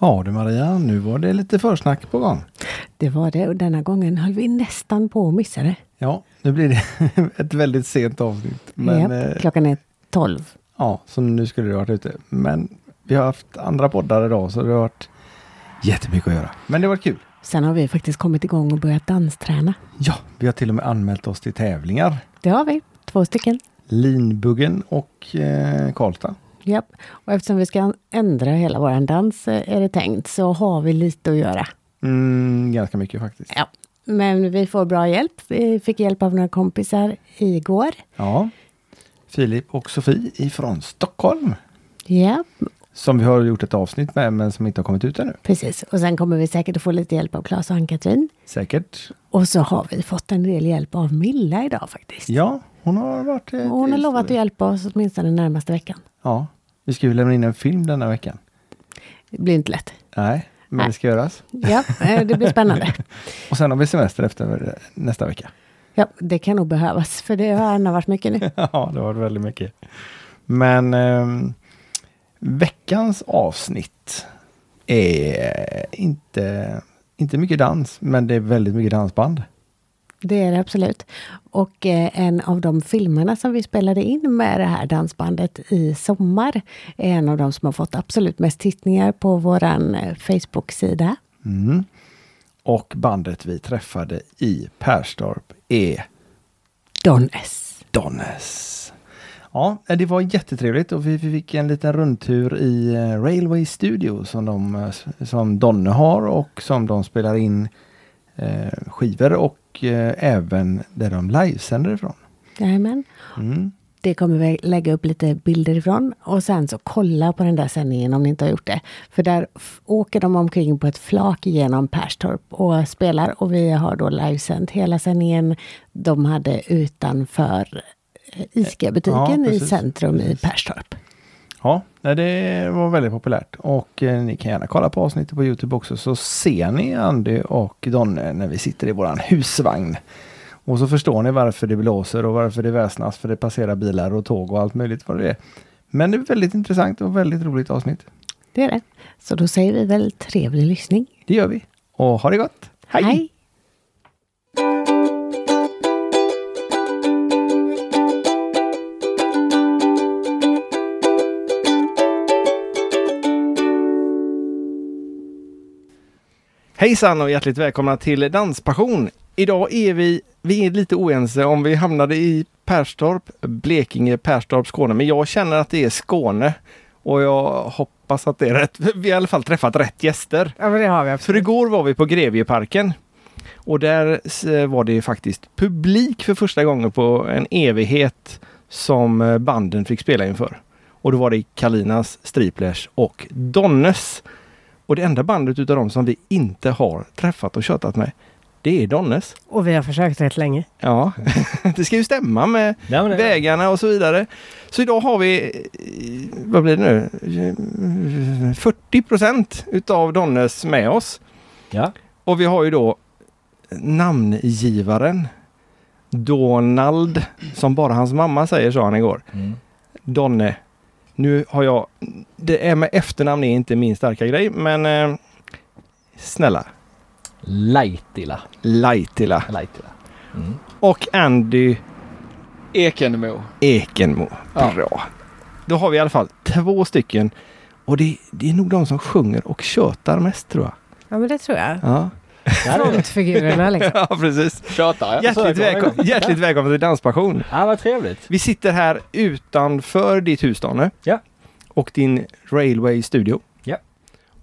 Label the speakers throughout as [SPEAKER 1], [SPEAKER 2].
[SPEAKER 1] Ja du Maria, nu var det lite försnack på gång.
[SPEAKER 2] Det var det och denna gången höll vi nästan på att missa det.
[SPEAKER 1] Ja, nu blir det ett väldigt sent avsnitt. Men,
[SPEAKER 2] Japp,
[SPEAKER 1] eh,
[SPEAKER 2] klockan är 12.
[SPEAKER 1] ja, så nu skulle det varit ute. Men vi har haft andra poddar idag så det har varit jättemycket att göra. Men det var kul.
[SPEAKER 2] Sen har vi faktiskt kommit igång och börjat dansträna.
[SPEAKER 1] Ja, vi har till och med anmält oss till tävlingar.
[SPEAKER 2] Det har vi, två stycken.
[SPEAKER 1] Linbuggen och eh, Karlstad.
[SPEAKER 2] Japp. Och eftersom vi ska ändra hela vår dans eh, är det tänkt så har vi lite att göra.
[SPEAKER 1] Mm, ganska mycket faktiskt.
[SPEAKER 2] Ja. Men vi får bra hjälp. Vi fick hjälp av några kompisar igår.
[SPEAKER 1] Ja. Filip och Sofie ifrån Stockholm.
[SPEAKER 2] Ja,
[SPEAKER 1] Som vi har gjort ett avsnitt med men som inte har kommit ut ännu.
[SPEAKER 2] precis. Och sen kommer vi säkert att få lite hjälp av Claes och Ann-Katrin.
[SPEAKER 1] Säkert.
[SPEAKER 2] Och så har vi fått en del hjälp av Milla idag faktiskt.
[SPEAKER 1] Ja, hon har varit... eh,
[SPEAKER 2] Och hon har
[SPEAKER 1] till-
[SPEAKER 2] lovat att hjälpa oss åtminstone den närmaste veckan.
[SPEAKER 1] Ja, vi ska ju lämna in en film denna veckan.
[SPEAKER 2] Det blir inte lätt.
[SPEAKER 1] Nej, men
[SPEAKER 2] Nej.
[SPEAKER 1] det ska göras.
[SPEAKER 2] Ja, eh, det blir spännande.
[SPEAKER 1] Och sen har vi semester efter eh, nästa vecka.
[SPEAKER 2] Ja, det kan nog behövas, för det har ändå varit mycket nu.
[SPEAKER 1] ja, det har varit väldigt mycket. Men ehm, veckans avsnitt är inte, inte mycket dans, men det är väldigt mycket dansband.
[SPEAKER 2] Det är det absolut. Och eh, en av de filmerna som vi spelade in med det här dansbandet i sommar är en av de som har fått absolut mest tittningar på våran eh, Facebook-sida.
[SPEAKER 1] Mm. Och bandet vi träffade i Perstorp är
[SPEAKER 2] Don S.
[SPEAKER 1] Donnes. Ja, det var jättetrevligt och vi fick en liten rundtur i eh, Railway Studio som, de, eh, som Donne har och som de spelar in eh, skivor och eh, även där de livesänder ifrån.
[SPEAKER 2] Jajamän.
[SPEAKER 1] Mm.
[SPEAKER 2] Det kommer vi lägga upp lite bilder ifrån och sen så kolla på den där sändningen om ni inte har gjort det. För där f- åker de omkring på ett flak genom Perstorp och spelar och vi har då livesänt hela sändningen de hade utanför eh,
[SPEAKER 1] Ja,
[SPEAKER 2] ICA-butiken i
[SPEAKER 1] precis,
[SPEAKER 2] centrum
[SPEAKER 1] precis.
[SPEAKER 2] i Perstorp.
[SPEAKER 1] Ja, nej, det var väldigt populärt och eh, ni kan gärna kolla på avsnittet på Youtube också så ser ni Andy och Donne när vi sitter i våran husvagn. Och så förstår ni varför det blåser och varför det väsnas för det passerar bilar och tåg och allt möjligt vad det är. Men det är väldigt intressant och väldigt roligt avsnitt.
[SPEAKER 2] Det är det. Så då säger vi väl trevlig lyssning.
[SPEAKER 1] Det gör vi. Och ha det gott!
[SPEAKER 2] Hej.
[SPEAKER 1] Hejsan och hjärtligt välkomna till Danspassion! Idag är vi, vi är lite oense om vi hamnade i Perstorp, Blekinge, Perstorp, Skåne. Men jag känner att det är Skåne och jag hoppas att det är rätt. Vi har i alla fall träffat rätt gäster.
[SPEAKER 2] Ja, men det har vi
[SPEAKER 1] För igår var vi på Grevieparken och där eh, var det faktiskt publik för första gången på en evighet som eh, banden fick spela inför. Och då var det Kalinas, Striplers och Donnes. Och det enda bandet utav dem som vi inte har träffat och tjötat med, det är Donnes.
[SPEAKER 3] Och vi har försökt rätt länge.
[SPEAKER 1] Ja, det ska ju stämma med
[SPEAKER 4] Nej, men det-
[SPEAKER 1] vägarna och så vidare. Så idag har vi, eh, vad blir det nu, Eh, 40 procent utav Donnes med oss.
[SPEAKER 4] Ja.
[SPEAKER 1] Och vi har ju då namngivaren Donald, som bara hans mamma säger, sa han igår.
[SPEAKER 4] Mm.
[SPEAKER 1] Donne. Nu har jag... Det är med efternamn är inte min starka grej, men eh, snälla,
[SPEAKER 4] Laitila.
[SPEAKER 1] Laitila.
[SPEAKER 4] Laitila.
[SPEAKER 1] Och Andy
[SPEAKER 4] Ekenmo.
[SPEAKER 1] Ekenmo.
[SPEAKER 4] Ja.
[SPEAKER 1] Bra. Då har vi i alla fall två stycken. Och det, det är nog de som sjunger och tjötar mest, tror jag.
[SPEAKER 3] Ja, men det tror jag.
[SPEAKER 1] Ja,
[SPEAKER 3] Frontfigurerna liksom.
[SPEAKER 1] ja precis.
[SPEAKER 4] Tjatar jag.
[SPEAKER 1] Hjärtligt, välkom- hjärtligt välkommen till Danspassion!
[SPEAKER 4] Ja, vad trevligt.
[SPEAKER 1] Vi sitter här utanför ditt hus Danne.
[SPEAKER 4] Ja.
[SPEAKER 1] Och din Railway Studio.
[SPEAKER 4] Ja.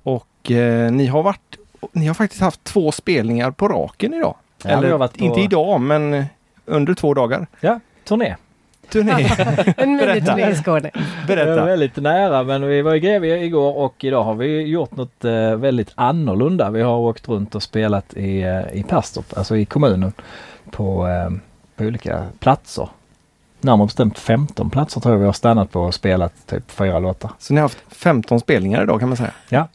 [SPEAKER 1] Och eh, ni har varit, ni har faktiskt haft två spelningar på raken idag.
[SPEAKER 4] Ja, vi har varit på-
[SPEAKER 1] inte idag men under två dagar.
[SPEAKER 4] Ja, turné.
[SPEAKER 1] Turné,
[SPEAKER 3] En
[SPEAKER 1] Berätta.
[SPEAKER 3] miniturné i Skåne.
[SPEAKER 4] Det var
[SPEAKER 1] berätta.
[SPEAKER 4] väldigt nära men vi var i Grevie igår och idag har vi gjort något eh, väldigt annorlunda. Vi har åkt runt och spelat i, eh, i Perstorp, alltså i kommunen, på, eh, på olika platser. Närmare bestämt 15 platser tror jag vi har stannat på och spelat typ fyra låtar.
[SPEAKER 1] Så ni har haft 15 spelningar idag kan man säga.
[SPEAKER 4] Ja,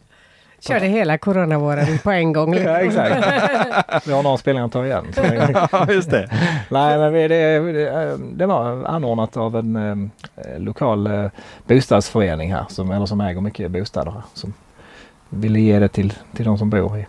[SPEAKER 3] Körde hela coronavåren på en gång. liksom.
[SPEAKER 4] exakt. vi har några spelningar att ta igen. Så det-
[SPEAKER 1] Ja, just det.
[SPEAKER 4] Nej, men vi- det, det, det var anordnat av en ehm, eh, lokal eh, bostadsförening här som, eller som äger mycket bostäder här. Som ville ge det till, till de som bor i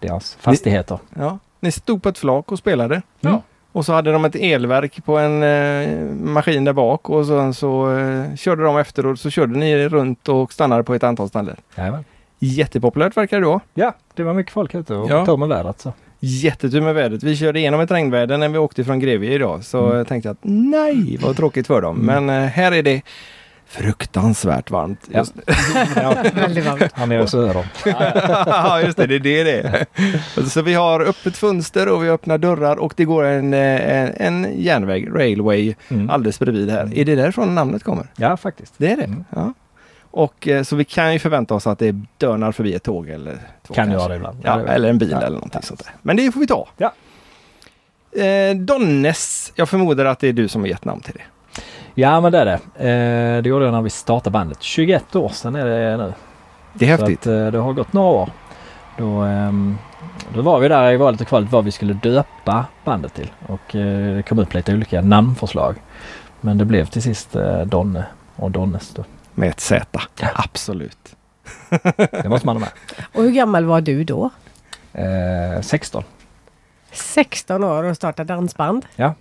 [SPEAKER 4] deras fastigheter.
[SPEAKER 1] Ja. Ni stod på ett flak och spelade.
[SPEAKER 4] Ja.
[SPEAKER 1] Och så hade de ett elverk på en eh, maskin där bak och sen så eh, körde de efter och så körde ni runt och stannade på ett antal ställen.
[SPEAKER 4] Jajamän.
[SPEAKER 1] Jättepopulärt verkar det då.
[SPEAKER 4] Ja, det var mycket folk ute och
[SPEAKER 1] Ja.
[SPEAKER 4] tur med vädret. Så.
[SPEAKER 1] Jättetur med vädret. Vi körde igenom ett regnväder när vi åkte från Grevie idag så
[SPEAKER 4] Mm.
[SPEAKER 1] jag tänkte att nej vad tråkigt för dem.
[SPEAKER 4] Mm.
[SPEAKER 1] Men eh, här är det fruktansvärt varmt.
[SPEAKER 4] Ja.
[SPEAKER 1] Just,
[SPEAKER 2] Väldigt varmt.
[SPEAKER 4] Han är söder.
[SPEAKER 1] ja, just det, det är det det är. Så vi har öppet fönster och vi öppnar dörrar och det går en, eh, en, en järnväg, railway,
[SPEAKER 4] Mm.
[SPEAKER 1] alldeles bredvid här. Är det därifrån namnet kommer?
[SPEAKER 4] Ja, faktiskt.
[SPEAKER 1] Det är det.
[SPEAKER 4] Mm.
[SPEAKER 1] Ja. Och, eh, så vi kan ju förvänta oss att det dörnar förbi ett tåg eller två.
[SPEAKER 4] Kan
[SPEAKER 1] kanske.
[SPEAKER 4] göra det ibland.
[SPEAKER 1] Ja, eller en bil
[SPEAKER 4] Ja.
[SPEAKER 1] eller någonting sånt där. Men det får vi ta.
[SPEAKER 4] Ja.
[SPEAKER 1] Eh, Donnes, jag förmodar att det är du som har gett namn till det.
[SPEAKER 4] Ja, men det är det. Eh, det gjorde jag när vi startade bandet. 21 år sedan är det nu.
[SPEAKER 1] Det är häftigt.
[SPEAKER 4] Så att, eh, det har gått några år. Då, ehm, då var vi där i valet och kvalet vad vi skulle döpa bandet till. Och eh, det kom upp lite olika namnförslag. Men det blev till sist eh, Donne och Donnes. Då.
[SPEAKER 1] Med ett Z. Absolut.
[SPEAKER 4] Det måste man ha
[SPEAKER 2] Och hur gammal var du då?
[SPEAKER 4] med. Eh, 16.
[SPEAKER 2] 16 år och startade dansband.
[SPEAKER 4] Ja.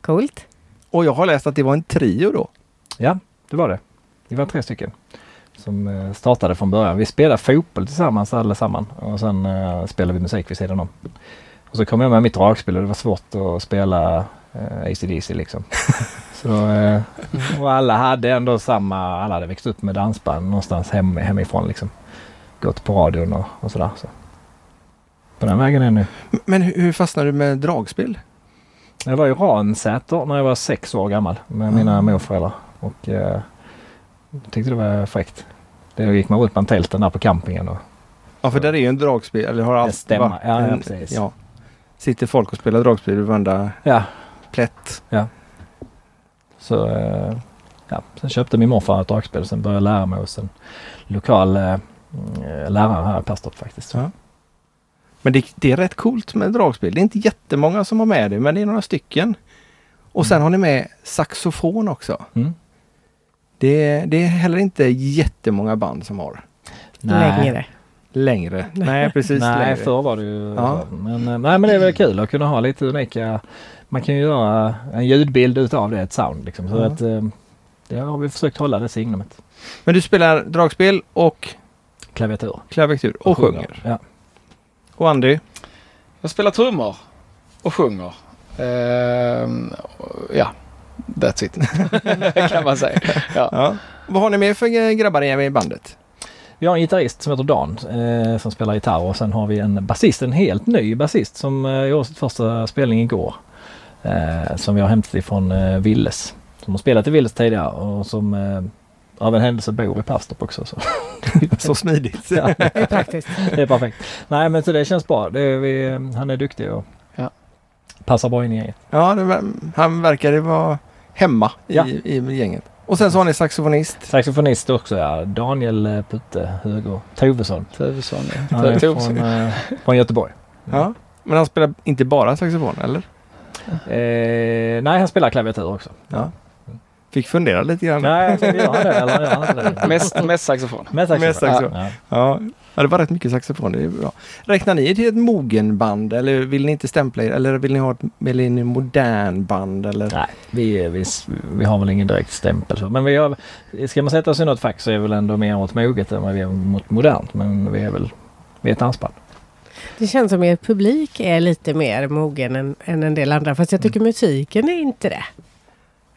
[SPEAKER 2] Coolt.
[SPEAKER 1] Och jag har läst att det var en trio då.
[SPEAKER 4] Ja, det var det. Vi var tre stycken som eh, startade från början. Vi spelade fotboll tillsammans allesamman och sen eh, spelade vi musik vid sidan om. Och så kom jag med mitt dragspel och det var svårt att spela eh, ACDC liksom. så, eh, och alla hade ändå samma, alla hade växt upp med dansband någonstans hem, hemifrån liksom. Gått på radion och, och sådär. Så. På den vägen är det nu.
[SPEAKER 1] M- Men hur, hur fastnade du med dragspel?
[SPEAKER 4] Jag var i Ransäter när jag var sex år gammal med
[SPEAKER 1] Mm.
[SPEAKER 4] mina morföräldrar. Och eh, tyckte det var fräckt. Då gick man ut bland tälten där på campingen. Och,
[SPEAKER 1] Ja, för där är ju en dragspel. Eller har alltid
[SPEAKER 4] stämmer.
[SPEAKER 1] varit
[SPEAKER 4] Ja, ja,
[SPEAKER 1] en-
[SPEAKER 4] precis.
[SPEAKER 1] ja. Sitter folk och spelar dragspel vid varenda
[SPEAKER 4] ja,
[SPEAKER 1] plätt.
[SPEAKER 4] så, eh, ja. Sen köpte min morfar ett dragspel. Sen började jag lära mig hos en lokal eh, eh, lärare här i Perstorp faktiskt.
[SPEAKER 1] Ja. Men det, det är rätt coolt med dragspel. Det är inte jättemånga som har med det, men det är några stycken. Och sen har ni med saxofon också.
[SPEAKER 4] Mm.
[SPEAKER 1] Det, det är heller inte jättemånga band som har.
[SPEAKER 2] Längre.
[SPEAKER 1] Längre. Nej, precis.
[SPEAKER 4] Nej,
[SPEAKER 1] längre.
[SPEAKER 4] förr var det ju...
[SPEAKER 1] Ja.
[SPEAKER 4] Men, eh, nej, men det är väl kul att kunna ha lite unika... Man kan ju göra en ljudbild utav det, ett sound liksom. Så
[SPEAKER 1] Ja.
[SPEAKER 4] att, eh, det har vi försökt hålla det signumet.
[SPEAKER 1] Men du spelar dragspel och
[SPEAKER 4] Klaviatur.
[SPEAKER 1] klaviatur och, sjunger.
[SPEAKER 4] Ja.
[SPEAKER 1] Och Andy?
[SPEAKER 5] Jag spelar trummor och sjunger. Ehm, ja, that's it. kan man säga. Ja.
[SPEAKER 1] Ja. Vad har ni med för eh, grabbar i bandet?
[SPEAKER 4] Vi har en gitarrist som heter Dan eh, som spelar gitarr och sen har vi en basist, en helt ny basist som eh, gjorde sitt första spelning igår. Eh, som vi har hämtat ifrån eh, Villes. Som har spelat i Villes tidigare och som eh, av en händelse bor i Perstorp också. Så.
[SPEAKER 1] Så smidigt.
[SPEAKER 4] Ja,
[SPEAKER 2] Det är praktiskt.
[SPEAKER 4] det är perfekt. Nej men så det känns bra. Det är vi, eh, han är duktig och
[SPEAKER 5] Ja.
[SPEAKER 4] passar bra in i gänget.
[SPEAKER 1] Ja, det, var- han verkade vara hemma i,
[SPEAKER 4] Ja.
[SPEAKER 1] i gänget. Och sen så har ni saxofonist.
[SPEAKER 4] Saxofonist också ja. Daniel eh, Putte Hugo Tovesson.
[SPEAKER 5] Tuvesson,
[SPEAKER 4] Han är
[SPEAKER 5] ja.
[SPEAKER 4] från,
[SPEAKER 5] Tuvesson.
[SPEAKER 4] eh, från Göteborg.
[SPEAKER 1] Ja. Men han spelar inte bara saxofon, eller?
[SPEAKER 4] Eh, nej han spelar klaviatur också.
[SPEAKER 1] Ja. Fick fundera lite grann.
[SPEAKER 4] Nej, alltså, gör han det eller gör han inte det?
[SPEAKER 5] Mest, mest saxofon.
[SPEAKER 4] Med saxofon.
[SPEAKER 1] Med saxofon.
[SPEAKER 4] Ja.
[SPEAKER 1] Ja. ja, det var rätt mycket saxofon. Det är bra. Räknar ni er till ett mogenband eller vill ni inte stämpla er? Eller vill ni ha ett vill ni modern band? Eller?
[SPEAKER 4] Nej, vi, vi, vi har väl ingen direkt stämpel. så. Men vi har, ska man sätta oss i något fack så är vi väl ändå mer åt moget än vad vi är mot modernt. Men vi är väl vi är ett dansband.
[SPEAKER 2] Det känns som er publik är lite mer mogen än, än en del andra. Fast jag tycker musiken är inte det.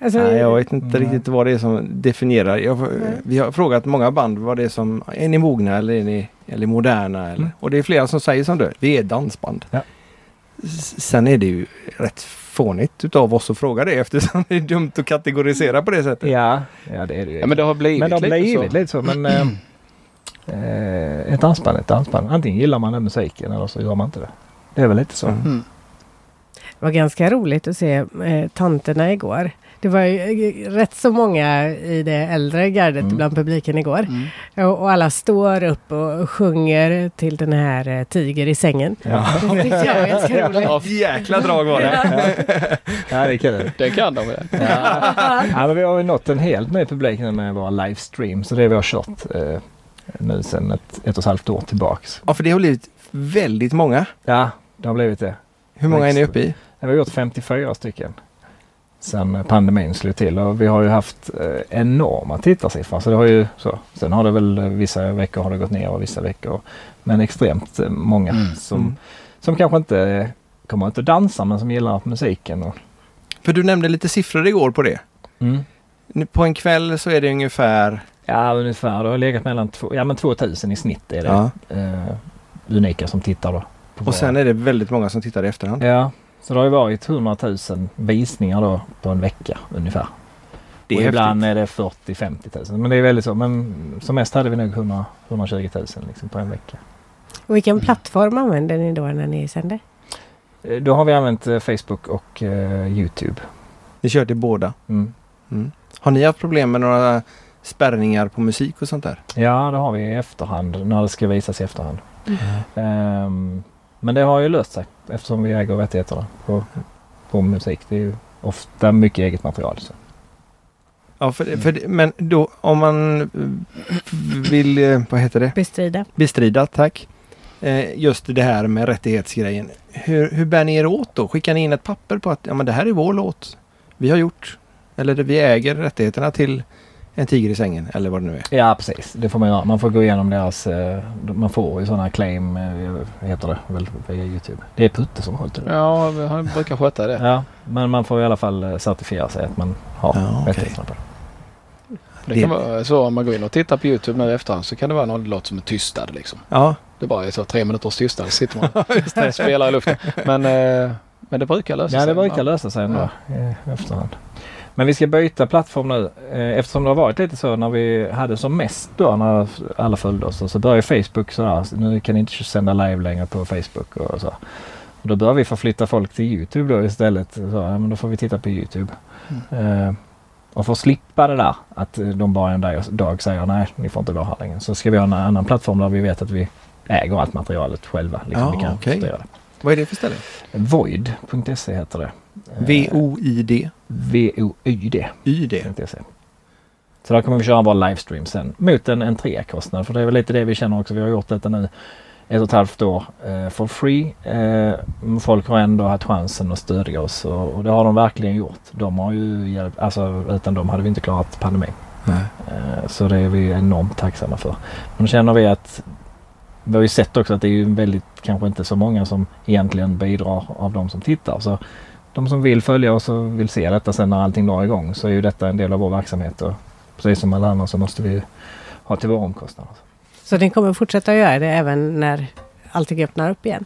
[SPEAKER 2] Alltså,
[SPEAKER 1] Nej, jag vet inte
[SPEAKER 4] Nej.
[SPEAKER 1] riktigt vad det är som definierar. Jag, vi har frågat många band vad det är som, är ni mogna eller är ni eller moderna? Eller?
[SPEAKER 4] Mm.
[SPEAKER 1] Och det är flera som säger som du, vi är dansband.
[SPEAKER 4] Ja.
[SPEAKER 1] S- Sen är det ju rätt fånigt utav oss att fråga det eftersom det är dumt att kategorisera på det sättet.
[SPEAKER 4] Ja, ja det är det ju.
[SPEAKER 5] Ja, men det har blivit
[SPEAKER 4] men det har blivit
[SPEAKER 5] så.
[SPEAKER 4] lite så. Men, eh, eh, ett dansband är ett dansband. Antingen gillar man den musiken eller så gör man inte det. Det är väl lite så.
[SPEAKER 1] Mm.
[SPEAKER 5] Mm.
[SPEAKER 2] Det var ganska roligt att se eh, tanterna igår. Det var ju eh, rätt så många i det äldre gardet
[SPEAKER 4] Mm.
[SPEAKER 2] bland publiken igår.
[SPEAKER 5] Mm.
[SPEAKER 2] Och, och alla står upp och sjunger till den här eh, Tiger i sängen.
[SPEAKER 4] Ja.
[SPEAKER 2] Det tyckte jag var ganska roligt.
[SPEAKER 5] Ja,
[SPEAKER 1] Jäkla drag var det!
[SPEAKER 4] ja, det är kul.
[SPEAKER 5] det kan de. det.
[SPEAKER 4] Ja. ja, men vi har ju nått en helt ny publik nu med våra livestream. Så det vi har kört eh, nu sedan ett, ett och ett halvt år tillbaks.
[SPEAKER 1] Ja, för det har blivit väldigt många.
[SPEAKER 4] Ja, det har blivit det.
[SPEAKER 1] Hur många är ni uppe i?
[SPEAKER 4] Vi har gjort 54 stycken sedan pandemin slog till och vi har ju haft eh, enorma tittarsiffror. Så det har ju så. Sen har det väl eh, vissa veckor har det gått ner och vissa veckor. Men extremt eh, många
[SPEAKER 5] Mm.
[SPEAKER 4] som,
[SPEAKER 1] Mm.
[SPEAKER 4] som kanske inte eh, kommer ut och dansar men som gillar musiken. Och,
[SPEAKER 1] För du nämnde lite siffror igår på det. Nu- På en kväll så är det ungefär...
[SPEAKER 4] Ja ungefär, det har legat mellan två, ja, men 2000 i snitt är det.
[SPEAKER 1] Ja.
[SPEAKER 4] Eh, unika som tittar då. på
[SPEAKER 1] Och sen
[SPEAKER 4] våra-
[SPEAKER 1] är det väldigt många som tittar i efterhand.
[SPEAKER 4] Ja, så det har ju varit 100 000 visningar då på en vecka ungefär.
[SPEAKER 1] Det
[SPEAKER 4] och
[SPEAKER 1] är
[SPEAKER 4] ibland
[SPEAKER 1] häftigt.
[SPEAKER 4] är det 40-50 000. Men det är väldigt så. Men som mest hade vi nog 100, 120 000 liksom på en vecka.
[SPEAKER 2] Och vilken plattform använder ni då när ni sänder?
[SPEAKER 4] Eh, Då har vi använt eh, Facebook och eh, Youtube.
[SPEAKER 1] Ni kör till båda.
[SPEAKER 4] Mm.
[SPEAKER 1] Mm. Har ni haft problem med några spärrningar på musik och sånt där?
[SPEAKER 4] Ja, det har vi i efterhand när det ska visas i efterhand. Ehm, men det har ju löst sig eftersom vi äger rättigheterna på, på musik. Det är ju ofta mycket eget material. Så.
[SPEAKER 1] Ja, för, för, men då om man eh, vill, eh, vad heter det,
[SPEAKER 2] Bestrida?
[SPEAKER 1] bestrida, tack, eh, just det här med rättighetsgrejen. Hur, hur bär ni er åt då? Skickar ni in ett papper på att ja, men det här är vår låt? Vi har gjort, eller vi äger rättigheterna till En tiger i sängen eller vad det nu är.
[SPEAKER 4] Ja, precis. Det får man göra. Man får gå igenom deras... eh, Man får ju sådana claim, eh, vad heter det, väl via Youtube. Det är Putte som håller till det.
[SPEAKER 5] Ja, vi- han brukar sköta det.
[SPEAKER 4] Ja, men man får i alla fall eh, certifiera sig att man har
[SPEAKER 1] Ja, okej.
[SPEAKER 4] rättigheterna på det.
[SPEAKER 5] Det kan vara så om man går in och tittar på Youtube nu i efterhand så kan det vara någon låt som är tystad liksom.
[SPEAKER 1] Ja,
[SPEAKER 5] Det bara är så tre minuters tystnad så sitter man och spelar i luften. Men, eh, men det brukar lösa
[SPEAKER 4] Ja,
[SPEAKER 5] sig.
[SPEAKER 4] det brukar lösa sig ändå eh, efterhand. Men vi ska byta plattform nu. eh, Eftersom det har varit lite så när vi hade som mest då när alla följde oss. och Så började Facebook sådär. så Nu kan ni inte sända live längre på Facebook och så. Och då började vi förflytta folk till Youtube då istället. Så, ja, men då får vi titta på Youtube. Eh, och för att slippa det där att eh, de bara en dag- dag säger nej, ni får inte vara här längre. Så ska vi ha en annan plattform där vi vet att vi äger allt materialet själva. Liksom,
[SPEAKER 1] Ja,
[SPEAKER 4] vi kan
[SPEAKER 1] okej.
[SPEAKER 4] styra det.
[SPEAKER 1] vad är det för ställe?
[SPEAKER 4] Void.se heter det. Eh,
[SPEAKER 1] V-O-I-D.
[SPEAKER 4] VOYD.se.
[SPEAKER 1] Y-D.
[SPEAKER 4] E. Så där kommer vi köra vår livestream sen mot en entrékostnad. För det är väl lite det vi känner också. Vi har gjort detta nu ett och ett halvt år eh, for free. Eh, men folk har ändå haft chansen att stödja oss och, och det har de verkligen gjort. De har ju hjälpt, alltså utan dem hade vi inte klarat pandemin.
[SPEAKER 1] Nej.
[SPEAKER 4] Eh, så det är vi enormt tacksamma för. Men känner vi att vi har ju sett också att det är ju väldigt, kanske inte så många som egentligen bidrar av de som tittar. Så de som vill följa oss och vill se detta sen när allting drar igång så är ju detta en del av vår verksamhet. Och precis som alla andra så måste vi ju ha till våra omkostnader.
[SPEAKER 2] Så ni kommer fortsätta göra det även när allting öppnar upp igen?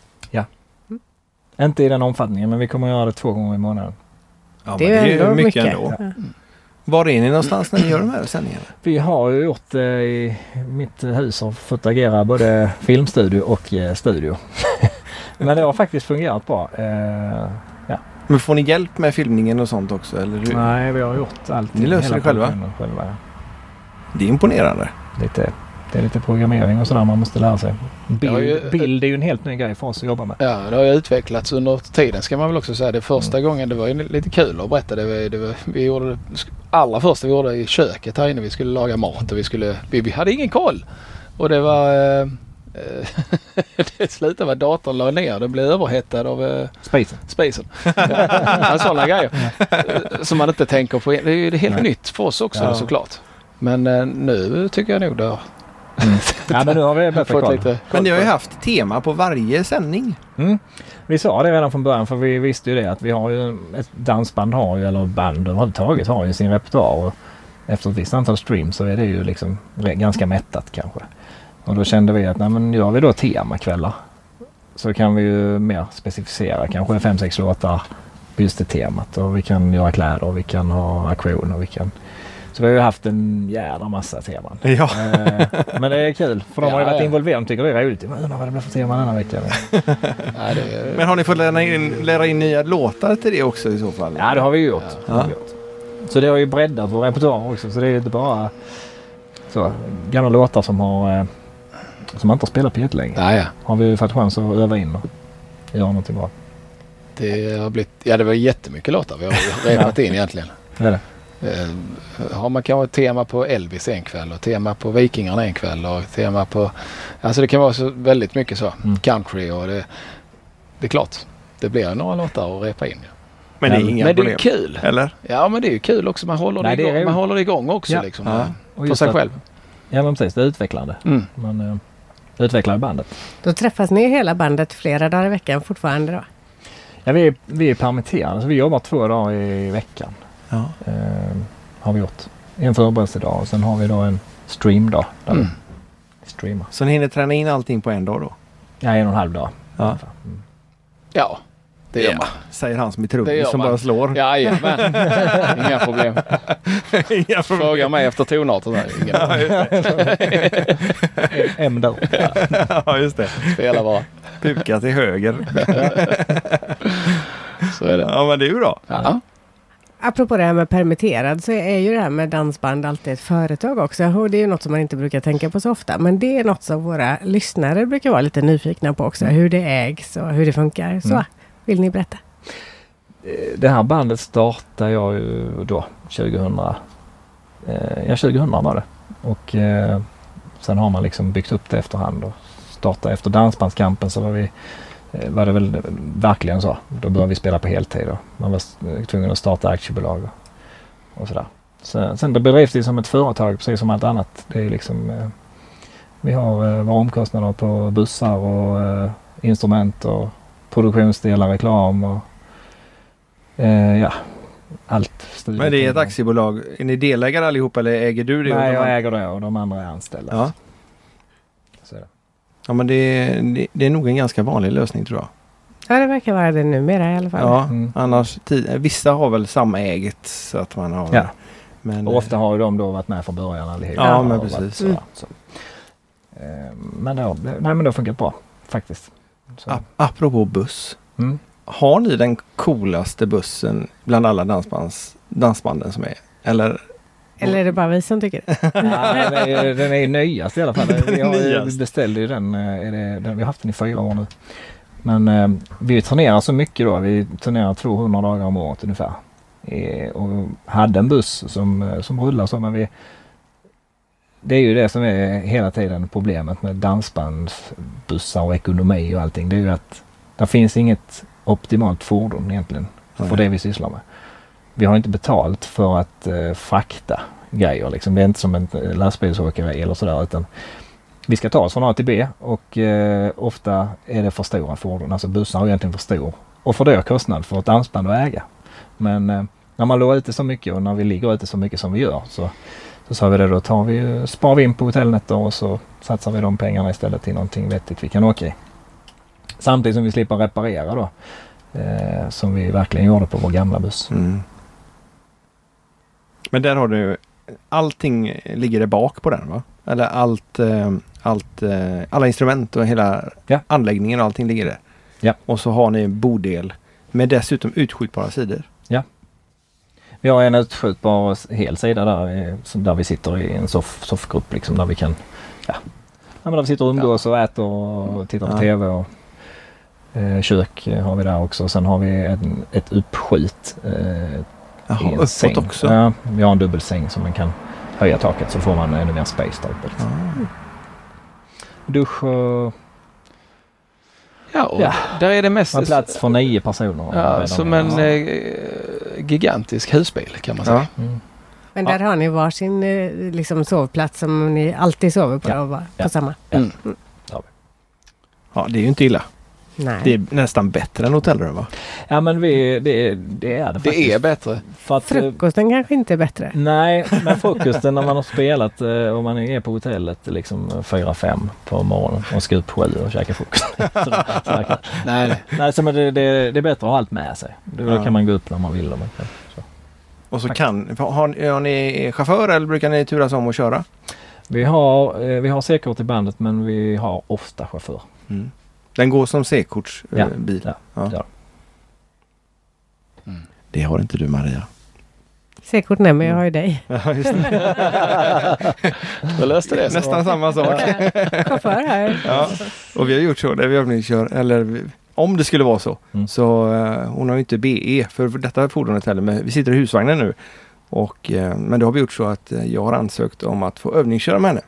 [SPEAKER 4] Inte i den omfattningen men vi kommer göra det två gånger i månaden.
[SPEAKER 1] Ja, men det är ju mycket ändå.
[SPEAKER 2] Ja.
[SPEAKER 1] Var är ni någonstans när ni gör de här sändningarna?
[SPEAKER 4] Vi har ju gjort eh, i mitt hus har fått agera både filmstudio och eh, studio. men det har faktiskt fungerat bra. Eh,
[SPEAKER 1] Men får ni hjälp med filmningen och sånt också? Eller hur?
[SPEAKER 4] nej, vi har gjort allting.
[SPEAKER 1] Mm. Ni löser
[SPEAKER 4] hela
[SPEAKER 1] det själva?
[SPEAKER 4] produktionen själva ja.
[SPEAKER 1] Det är imponerande.
[SPEAKER 4] lite, det är lite programmering och sådär man måste lära sig.
[SPEAKER 5] Jag har
[SPEAKER 4] Bild,
[SPEAKER 5] ju-
[SPEAKER 4] bild är ju en helt ny grej för oss att jobba med.
[SPEAKER 5] Ja, det har ju utvecklats under tiden ska man väl också säga. Det första
[SPEAKER 4] Mm.
[SPEAKER 5] gången, det var ju lite kul att berätta. Det var, det var, vi gjorde det allra första vi gjorde det i köket här inne. Vi skulle laga mat och vi skulle... Vi, vi hade ingen koll. Och det var... Eh, eh, det slutade med att datorn la ner. Den blev överhettad av eh,
[SPEAKER 4] Spacen.
[SPEAKER 5] spacen. Ja, sådana grejer. Eh, Som man inte tänker på. Det är ju helt
[SPEAKER 4] Nej.
[SPEAKER 5] nytt för oss också
[SPEAKER 4] Ja.
[SPEAKER 5] såklart. Men eh, nu tycker jag nog det har
[SPEAKER 4] Ja men nu har vi bättre
[SPEAKER 5] Mm. fått
[SPEAKER 4] koll.
[SPEAKER 5] lite...
[SPEAKER 1] Men ni har ju haft tema på varje sändning.
[SPEAKER 4] Mm. Vi sa det redan från början för vi visste ju det att vi har ju ett dansband har ju eller band överhuvudtaget har ju sin repertoar. Och efter ett visst antal streams så är det ju liksom re- ganska mättat kanske. Och då kände vi att nej men gör vi då temakvällar så kan vi ju mer specificera kanske fem sex låtar på just det temat. Och vi kan göra kläder och vi kan ha auktion och vi kan... Så vi har ju haft en jädra massa teman.
[SPEAKER 1] Ja.
[SPEAKER 4] Eh, men det är kul för de har ju
[SPEAKER 5] Ja,
[SPEAKER 4] varit
[SPEAKER 5] ja.
[SPEAKER 4] involverade. De tycker det är roligt. Jag undrar vad det blir för tema denna veckan.
[SPEAKER 5] Nej, det är,
[SPEAKER 1] Men har ni fått lära in, lära in nya låtar till det också i så fall?
[SPEAKER 4] Ja, det har vi ju gjort. Det har vi
[SPEAKER 1] Ja.
[SPEAKER 4] gjort. Så det har ju breddat vår repertoar också. Så det är ju inte bara så, gamla låtar som, har, eh, som man inte har spelat på jättelänge.
[SPEAKER 5] nej, ja.
[SPEAKER 4] Har vi ju fått chans att öva in och göra någonting bra.
[SPEAKER 5] Det har blivit, ja det var jättemycket låtar vi har repat in egentligen.
[SPEAKER 4] Det är det.
[SPEAKER 5] Eh, har man kanske ett tema på Elvis en kväll och tema på Vikingarna en kväll och tema på... Alltså det kan vara så väldigt mycket så.
[SPEAKER 4] Mm.
[SPEAKER 5] Country och det... Det är klart. Det blir några låtar att repa in. ja.
[SPEAKER 1] Men det är inga
[SPEAKER 5] Men det är
[SPEAKER 1] problem.
[SPEAKER 5] kul.
[SPEAKER 1] Eller?
[SPEAKER 5] Ja men det är ju kul också. Man håller,
[SPEAKER 4] Nej,
[SPEAKER 5] det,
[SPEAKER 4] det är
[SPEAKER 5] igång.
[SPEAKER 4] ju-
[SPEAKER 5] Man håller det igång också
[SPEAKER 4] Ja.
[SPEAKER 5] liksom.
[SPEAKER 1] Ja.
[SPEAKER 4] Och
[SPEAKER 5] För
[SPEAKER 4] just
[SPEAKER 5] sig
[SPEAKER 4] att-
[SPEAKER 5] själv.
[SPEAKER 4] Ja men precis, det är utvecklande.
[SPEAKER 5] Mm.
[SPEAKER 4] Man eh, utvecklar bandet.
[SPEAKER 2] Då träffas ni hela bandet flera dagar i veckan fortfarande då?
[SPEAKER 4] Ja, vi, är, vi är permitterade så vi jobbar två dagar i veckan.
[SPEAKER 1] Ja.
[SPEAKER 4] Eh, har vi gjort. En förberedelsedag och sen har vi då en streamdag. Där
[SPEAKER 5] Mm.
[SPEAKER 4] vi streamar.
[SPEAKER 1] Så ni hinner träna in allting på en dag då?
[SPEAKER 4] Ja, en och en halv dag.
[SPEAKER 1] Ja.
[SPEAKER 5] Ja, det gör man.
[SPEAKER 1] Säger han som är
[SPEAKER 5] Det
[SPEAKER 1] trummis
[SPEAKER 5] gör
[SPEAKER 1] som
[SPEAKER 5] man.
[SPEAKER 1] bara slår.
[SPEAKER 5] Jajamän. Inga problem.
[SPEAKER 1] Inga problem.
[SPEAKER 5] Fråga mig efter tonarten. här. Inga problem.
[SPEAKER 4] M då.
[SPEAKER 1] ja, just det.
[SPEAKER 5] Spela bara.
[SPEAKER 1] Puka till höger.
[SPEAKER 5] Så är det.
[SPEAKER 1] Ja, men det är ju bra.
[SPEAKER 5] Ja.
[SPEAKER 2] Apropå det här med permitterad så är ju det här med dansband alltid ett företag också. Och det är ju något som man inte brukar tänka på så ofta. Men det är något som våra lyssnare brukar vara lite nyfikna på också.
[SPEAKER 1] Mm.
[SPEAKER 2] Hur det ägs och hur det funkar. Så,
[SPEAKER 4] Mm.
[SPEAKER 2] vill ni berätta?
[SPEAKER 4] Eh, Det här bandet startade jag ju då 2000. Eh, ja, 2000 var det. Och eh, sen har man liksom byggt upp det efterhand och startade efter Dansbandskampen så var vi eh, var det väl verkligen så. Då började vi spela på heltid och man var s- eh, tvungen att starta aktiebolag och, och sådär. Sen, sen det bedrevs det som ett företag precis som allt annat. Det är liksom, eh, vi har eh, våra omkostnader på bussar och eh, instrument och produktionsdelar, reklam och eh, ja, allt. studiet-
[SPEAKER 1] Men det är ett aktiebolag. Är ni delägare allihopa eller äger du det?
[SPEAKER 4] Nej,
[SPEAKER 1] De-
[SPEAKER 4] jag äger det och de andra är anställda.
[SPEAKER 1] Ja.
[SPEAKER 4] Så är det.
[SPEAKER 1] ja, men det, det, det är nog en ganska vanlig lösning tror jag.
[SPEAKER 2] Ja, det verkar vara det numera i alla fall.
[SPEAKER 1] Ja,
[SPEAKER 4] Mm.
[SPEAKER 1] annars ti- vissa har väl samma eget så att man har.
[SPEAKER 4] Ja.
[SPEAKER 1] Men,
[SPEAKER 4] Och ofta har ju de då varit med från början allihopa.
[SPEAKER 1] Ja,
[SPEAKER 4] och
[SPEAKER 1] men
[SPEAKER 4] varit
[SPEAKER 1] precis. Mm.
[SPEAKER 4] sådär. Så. Eh, Men, då, nej, men det har funkat bra faktiskt. Så.
[SPEAKER 1] eh, ap- apropå buss.
[SPEAKER 4] Mm.
[SPEAKER 1] Har ni den coolaste bussen bland alla dansbands, dansbanden som är? Eller?
[SPEAKER 2] Eller är det bara vi som tycker det?
[SPEAKER 4] Ja, den, är, ju- den är ju nyast i alla fall. Vi har, ju-
[SPEAKER 1] Nyast.
[SPEAKER 4] vi beställde ju den, eh, är det, den. Vi har haft den i fyra år nu. Men eh, vi turnerar så mycket då. Vi turnerar 200 dagar om året ungefär. Eh, och hade en buss som, eh, som rullar så men vi... Det är ju det som är hela tiden problemet med dansbandsbussar och ekonomi och allting. Det är ju att det finns inget optimalt fordon egentligen för
[SPEAKER 1] Nej.
[SPEAKER 4] det vi sysslar med. Vi har inte betalt för att eh, frakta grejer. Liksom. Det är inte som en eh, lastbilsåkare eller sådär. Utan vi ska ta oss från A till B och eh, ofta är det för stora fordon. Alltså bussar är egentligen för stor och för dyr kostnad för ett dansband att äga. Men eh, när man låg ute så mycket och när vi ligger ute så mycket som vi gör så, så sa vi det då tar vi, eh, sparar vi in på hotellnätter och så satsar vi de pengarna istället till någonting vettigt vi kan åka i. Samtidigt som vi slipper reparera då. Eh, som vi verkligen gjorde på vår gamla buss.
[SPEAKER 1] Mm. Men där har du, allting ligger det bak på den va? Eller allt, eh, allt eh, alla instrument och hela
[SPEAKER 4] Ja.
[SPEAKER 1] anläggningen och allting ligger där.
[SPEAKER 4] Ja.
[SPEAKER 1] Och så har ni en bodel med dessutom utskjutbara sidor.
[SPEAKER 4] Vi har en utskjutbar s- hel sida där, eh, som- där vi sitter i en soff, soffgrupp liksom där vi kan... Ja, ja men där vi sitter och umgås och äter och tittar på
[SPEAKER 1] Ja.
[SPEAKER 4] TV. Och, eh, kök eh, har vi där också. Sen har vi en, ett uppskjut eh, i en säng. Ja, vi har en dubbelsäng som man kan höja taket så får man ännu mer space där uppe. Liksom. Dusch och
[SPEAKER 5] Ja, och
[SPEAKER 4] Ja.
[SPEAKER 5] där är det mest...
[SPEAKER 4] en plats för nio personer.
[SPEAKER 5] Ja,
[SPEAKER 4] Redan
[SPEAKER 5] som
[SPEAKER 4] där.
[SPEAKER 5] en eh, gigantisk husbil kan man säga.
[SPEAKER 1] Ja.
[SPEAKER 4] Mm.
[SPEAKER 2] Men där har ni varsin eh, liksom, sovplats som ni alltid sover på.
[SPEAKER 4] Ja.
[SPEAKER 2] Och bara,
[SPEAKER 4] Ja.
[SPEAKER 2] på samma.
[SPEAKER 1] ja, det är ju inte illa.
[SPEAKER 2] Nej.
[SPEAKER 1] Det är nästan bättre än hotellrum va?
[SPEAKER 4] Ja men vi, det, det är det faktiskt.
[SPEAKER 5] Det är bättre.
[SPEAKER 4] För att, eh,
[SPEAKER 2] Frukosten kanske inte är bättre.
[SPEAKER 4] Nej, men frukosten när man har spelat eh, och man är på hotellet liksom 4-5 på morgonen och ska upp 7 och käka frukost. Så- så här kan-
[SPEAKER 5] Nej, nej.
[SPEAKER 4] nej, så men det, det, det är bättre att ha allt med sig. Då
[SPEAKER 1] Ja.
[SPEAKER 4] kan man gå upp när man vill. Om man kan. Så.
[SPEAKER 1] Och så kan, har, ni- har ni chaufför eller brukar ni turas om att köra?
[SPEAKER 4] Vi har, eh, vi har säkerhet i bandet men vi har ofta chaufför.
[SPEAKER 1] Den går som C-kortsbil.
[SPEAKER 4] Ja.
[SPEAKER 1] bil.
[SPEAKER 4] Ja.
[SPEAKER 1] Mm. Ja.
[SPEAKER 4] Ja.
[SPEAKER 5] Mm.
[SPEAKER 1] Det har inte du Maria.
[SPEAKER 2] Säkert nej, men jag har ju dig.
[SPEAKER 1] Ja, just det.
[SPEAKER 5] Då löste det sig.
[SPEAKER 1] Nästan samma sak.
[SPEAKER 2] Chaufför här.
[SPEAKER 1] Ja. Och vi har gjort så när vi övningskör, eller vi- om det skulle vara så.
[SPEAKER 4] Mm.
[SPEAKER 1] E, Så eh, hon har ju inte BE för detta fordonet heller, men vi sitter i husvagnen nu. Och, eh, men då har vi gjort så att eh, jag har ansökt om att få övningsköra med henne.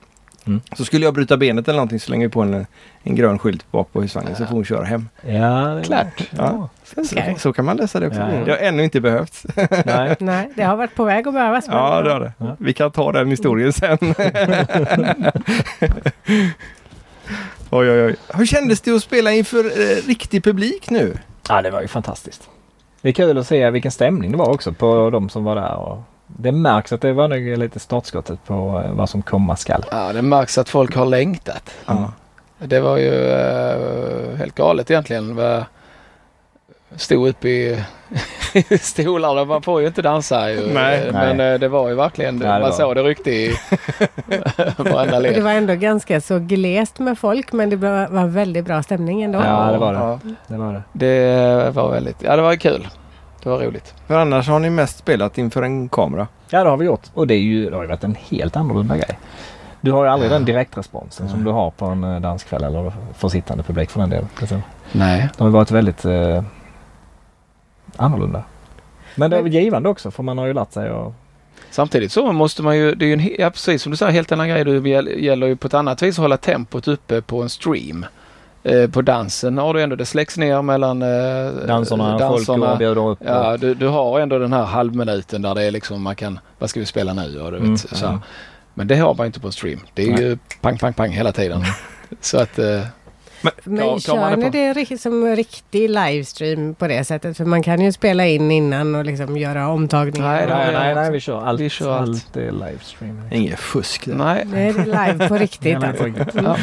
[SPEAKER 4] Mm.
[SPEAKER 1] Så skulle jag bryta benet eller någonting så länger vi på en, eh, en grön skylt bak på husvagnen så får hon köra hem.
[SPEAKER 4] Ja, det-
[SPEAKER 5] Klart.
[SPEAKER 1] Ja. Så,
[SPEAKER 2] Funkar.
[SPEAKER 1] så kan man lösa det också.
[SPEAKER 4] Ja, ja.
[SPEAKER 1] Det har ännu inte behövts.
[SPEAKER 4] Nej.
[SPEAKER 2] Nej, det har varit på väg att behövas. men-
[SPEAKER 1] Ja, det har det.
[SPEAKER 4] Ja.
[SPEAKER 1] Vi kan ta den historien sen. oj, oj, oj. Hur kändes det att spela inför eh, riktig publik nu?
[SPEAKER 4] Ja, det var ju fantastiskt. Det är kul att se vilken stämning det var också på de som var där. Och det märks att det var nog lite startskottet på eh, vad som komma skall.
[SPEAKER 5] Ja, det märks att folk har längtat.
[SPEAKER 1] Ja.
[SPEAKER 5] Det var ju eh, helt galet egentligen. Va- Stod uppe i i stolarna. Man får ju inte dansa ju.
[SPEAKER 1] Nej.
[SPEAKER 5] Men eh, det var ju verkligen,
[SPEAKER 4] Nej, det
[SPEAKER 5] man
[SPEAKER 4] var-
[SPEAKER 5] såg det ryckte i
[SPEAKER 2] Det
[SPEAKER 5] varenda led.
[SPEAKER 2] var ändå ganska så glest med folk, men det var var väldigt bra stämning ändå.
[SPEAKER 4] Ja, det var det.
[SPEAKER 5] Ja,
[SPEAKER 4] Det var det.
[SPEAKER 5] det var väldigt, ja det var kul. Det var roligt.
[SPEAKER 1] För annars har ni mest spelat inför en kamera.
[SPEAKER 4] Ja, det har vi gjort. Och det, är ju, det har ju varit en helt annorlunda grej. Du har ju aldrig den direktresponsen som du har på en eh, danskväll eller för sittande publik för den delen. Liksom.
[SPEAKER 5] Nej.
[SPEAKER 4] De har varit väldigt eh, annorlunda. Men det är väl givande också för man har ju lärt sig att...
[SPEAKER 5] Samtidigt så måste man ju, det är ju en, he- ja, precis som du säger, helt annan grej. Det gäll- gäller ju på ett annat vis att hålla tempot uppe på en stream. Eh, på dansen har du ändå, det släcks ner mellan eh,
[SPEAKER 4] Dansarna, folk går och bjuder upp. och-
[SPEAKER 5] Ja, du, du har ändå den här halvminuten där det är liksom man kan, vad ska vi spela nu? Och du vet,
[SPEAKER 4] Mm,
[SPEAKER 5] så
[SPEAKER 4] ja.
[SPEAKER 5] här. Men det har man inte på en stream. Det är
[SPEAKER 4] Nej. Mm.
[SPEAKER 5] ju pang, pang, pang hela tiden. så att, eh,
[SPEAKER 2] Men
[SPEAKER 5] Tar- tar
[SPEAKER 2] kör
[SPEAKER 5] man det
[SPEAKER 2] ni
[SPEAKER 5] på-
[SPEAKER 2] det rikt- som en riktig livestream på det sättet? För man kan ju spela in innan och liksom göra omtagningar.
[SPEAKER 5] Nej,
[SPEAKER 4] Nej, nej, nej,
[SPEAKER 5] också.
[SPEAKER 4] vi kör allt.
[SPEAKER 5] Vi kör allt.
[SPEAKER 4] Det är livestream.
[SPEAKER 1] Inget fusk. där.
[SPEAKER 5] nej.
[SPEAKER 2] Nu är det live på riktigt.
[SPEAKER 4] Nej,
[SPEAKER 2] alltså.
[SPEAKER 4] nej, på riktigt.
[SPEAKER 5] Ja.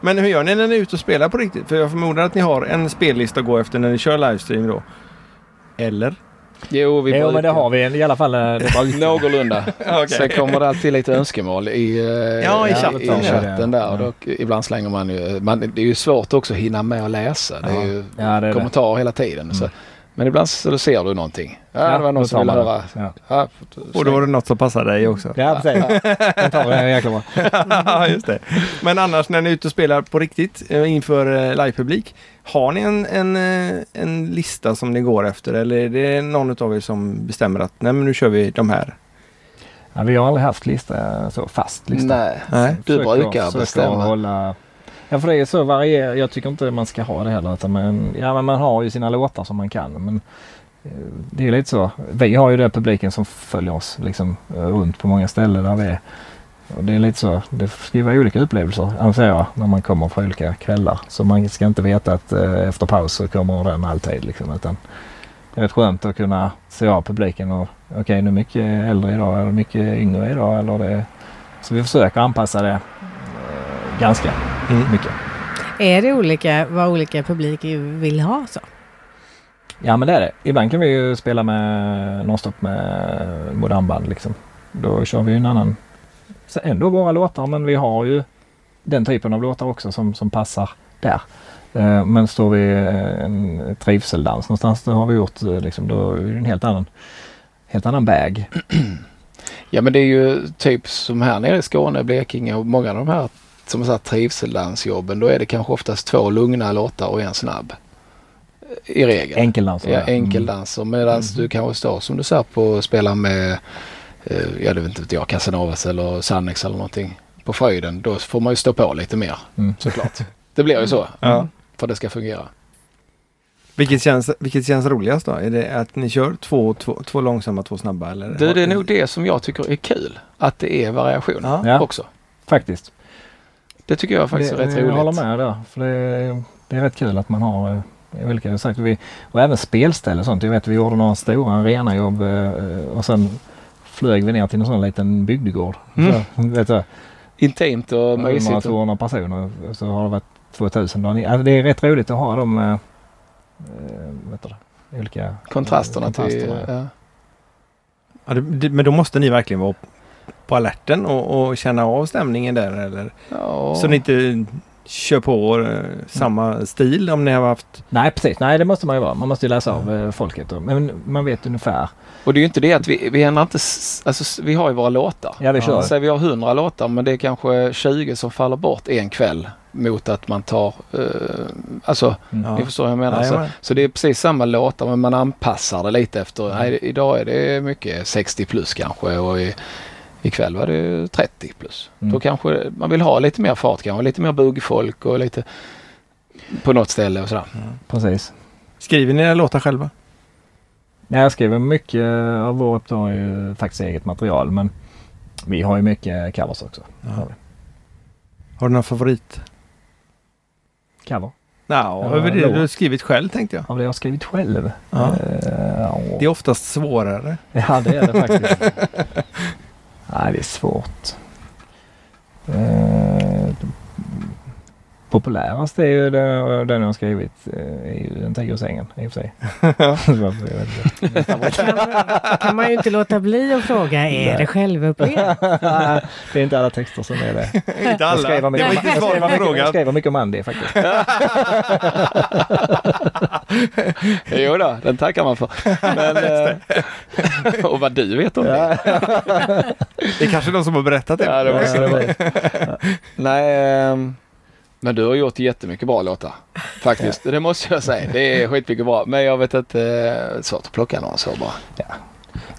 [SPEAKER 1] Men hur gör ni när ni är ute och spelar på riktigt? För jag förmodar att ni har en spellista att gå efter när ni kör livestream då. Eller?
[SPEAKER 5] Jo, vi
[SPEAKER 4] Jo,
[SPEAKER 5] brukar-
[SPEAKER 4] men det har vi i alla fall. eh, Det var ute.
[SPEAKER 5] Någorlunda. Sen kommer det alltid lite önskemål i, eh,
[SPEAKER 1] Ja, i chatten.
[SPEAKER 5] i,
[SPEAKER 1] Ja.
[SPEAKER 5] chatten där.
[SPEAKER 4] Ja.
[SPEAKER 5] Och då, ibland slänger man ju... Man, det är ju svårt också att hinna med att läsa. Det är ju
[SPEAKER 4] Ja, det är det.
[SPEAKER 5] kommentarer hela tiden. Så. Men ibland så då ser du någonting. Ja, det var
[SPEAKER 4] då
[SPEAKER 5] någon som
[SPEAKER 4] tar
[SPEAKER 5] ville
[SPEAKER 4] man
[SPEAKER 5] höra.
[SPEAKER 4] det. Ja,
[SPEAKER 5] Ja,
[SPEAKER 1] Och då var det något som passade dig också.
[SPEAKER 4] ja precis. Jag tar det jäkla bra.
[SPEAKER 1] Ja, just det. Men annars när ni är ute och spelar på riktigt eh, inför eh, livepublik. Har ni en, en, eh, en lista som ni går efter eller är det någon av er som bestämmer att nej men nu kör vi de här?
[SPEAKER 4] Ja, vi har aldrig haft lista, eh, så fast lista.
[SPEAKER 5] Nej.
[SPEAKER 1] Nej.
[SPEAKER 5] Du
[SPEAKER 4] Försöker-
[SPEAKER 5] brukar
[SPEAKER 4] försöker
[SPEAKER 5] bestämma.
[SPEAKER 4] Hålla... Ja, för det är så varierar. Jag tycker inte man ska ha det heller. Utan man, ja, men man har ju sina låtar som man kan. Men eh, det är lite så. Vi har ju den publiken som följer oss liksom, eh, runt på många ställen där vi är. Och det är lite så. Det ska ju vara olika upplevelser anser jag när man kommer på olika kvällar. Så man ska inte veta att eh, efter paus så kommer den alltid. Liksom, utan det är rätt skönt att kunna se av publiken och okej nu är det mycket äldre idag eller mycket yngre idag. Eller det... Så vi försöker anpassa det eh, ganska
[SPEAKER 1] Mm.
[SPEAKER 4] mycket.
[SPEAKER 2] Är det olika vad olika publik vill ha? så?
[SPEAKER 4] Ja men det är det. Ibland kan vi ju spela med nonstop med modern band liksom. Då kör vi ju en annan. Så ändå våra låtar men vi har ju den typen av låtar också som, som passar där. Eh, Men står vi eh, en trivseldans någonstans, det har vi gjort eh, liksom, då är det ju en helt annan, helt annan väg.
[SPEAKER 5] Ja men det är ju typ som här nere i Skåne, Blekinge och många av de här som sagt trivseldansjobben. Då är det kanske oftast två lugna låtar och en snabb. I regel.
[SPEAKER 4] Enkeldans.
[SPEAKER 5] ja, mm. Mhm. enkeldanser. Medan du kanske står som du sa på och spelar med, eh, jag vet inte vet jag, Casanovas eller Sannex eller någonting på fröjden. Då får man ju stå på lite mer
[SPEAKER 4] Mm.
[SPEAKER 5] såklart. Det blir ju så.
[SPEAKER 1] Ja.
[SPEAKER 5] För det ska fungera.
[SPEAKER 1] Vilket, känns, vilket känns roligast då? Är det att ni kör två, två, två långsamma, två snabba? Eller?
[SPEAKER 5] Du, det är nog det som jag tycker är kul. Att det är variation
[SPEAKER 1] Ja.
[SPEAKER 4] Ja.
[SPEAKER 5] också.
[SPEAKER 4] Faktiskt.
[SPEAKER 5] Det tycker jag faktiskt
[SPEAKER 4] det,
[SPEAKER 5] är rätt
[SPEAKER 4] jag
[SPEAKER 5] roligt.
[SPEAKER 4] håller med där. För det, det är rätt kul att man har eh, olika saker. Vi, och även spelställe och sånt. Jag vet vi gjorde några stora arenajobb eh, och sen flög vi ner till en sån liten bygdegård.
[SPEAKER 5] Mm.
[SPEAKER 4] Så, vet du,
[SPEAKER 5] Intimt och mysigt. och-
[SPEAKER 4] 100-200 personer så har det varit 2000 dagar. Alltså, det är rätt roligt att ha de eh, eh, vet du, det, olika eh,
[SPEAKER 5] Kontrasterna till...
[SPEAKER 4] kontrasterna.
[SPEAKER 5] Ja.
[SPEAKER 1] Ja, det, det, men då måste ni verkligen vara på alerten och, och känna av stämningen där eller?
[SPEAKER 5] Ja.
[SPEAKER 1] Så ni inte kör på eh, samma stil om ni har haft...
[SPEAKER 4] Nej precis, nej det måste man ju vara. Man måste ju läsa av eh, folket. Då. Men man vet ungefär.
[SPEAKER 5] Och det är ju inte det att vi, vi ändrar inte, s- alltså s- vi har ju våra låtar.
[SPEAKER 4] Ja vi kör.
[SPEAKER 5] Säg vi har 100 låtar men det är kanske 20 som faller bort en kväll mot att man tar, eh, alltså
[SPEAKER 4] Mm,
[SPEAKER 1] Ja.
[SPEAKER 5] ni förstår vad jag menar. Så,
[SPEAKER 1] Jajamän.
[SPEAKER 5] så det är precis samma låtar men man anpassar det lite efter, nej, idag är det mycket 60 plus kanske och i, ikväll var det 30 plus.
[SPEAKER 4] Mm.
[SPEAKER 5] Då kanske man vill ha lite mer fart kanske, lite mer bugfolk och lite på något ställe och sådär.
[SPEAKER 4] Precis.
[SPEAKER 1] Skriver ni era låtar själva?
[SPEAKER 4] Nej, jag skriver mycket av vår repertoar är ju faktiskt eget material men vi har ju mycket covers också.
[SPEAKER 1] Har du någon favorit?
[SPEAKER 4] Cover?
[SPEAKER 1] Ja,
[SPEAKER 4] Ja,
[SPEAKER 1] över det
[SPEAKER 4] låt.
[SPEAKER 1] du har skrivit själv tänkte jag.
[SPEAKER 4] Av det jag har skrivit själv?
[SPEAKER 1] Ja.
[SPEAKER 4] Eh,
[SPEAKER 1] Det är oftast svårare.
[SPEAKER 4] Ja, det är det faktiskt. Nej, det är svårt. Eh, populärast är ju den, den jag har skrivit. eh, är ju Den tigger i sängen i och för sig. Så varför jag vet inte.
[SPEAKER 2] kan man ju inte låta bli att fråga, är det självupplevt?
[SPEAKER 4] det är inte alla texter som är det.
[SPEAKER 1] Inte
[SPEAKER 4] Jag skriver mycket,
[SPEAKER 1] inte
[SPEAKER 4] jag
[SPEAKER 1] svar
[SPEAKER 4] skriver
[SPEAKER 1] på
[SPEAKER 4] mycket, jag
[SPEAKER 1] frågan.
[SPEAKER 4] skriver mycket om Andy faktiskt.
[SPEAKER 5] Jo då, den tackar man för. Men, eh, och vad du vet om det.
[SPEAKER 1] Det är kanske någon som har berättat det.
[SPEAKER 5] Ja, det var
[SPEAKER 4] Ja, det var det.
[SPEAKER 5] Nej, ehm, men du har gjort jättemycket bra låtar. Faktiskt, det måste jag säga. Det är skitmycket bra. Men jag vet att eh, det är svårt att plocka några så bara.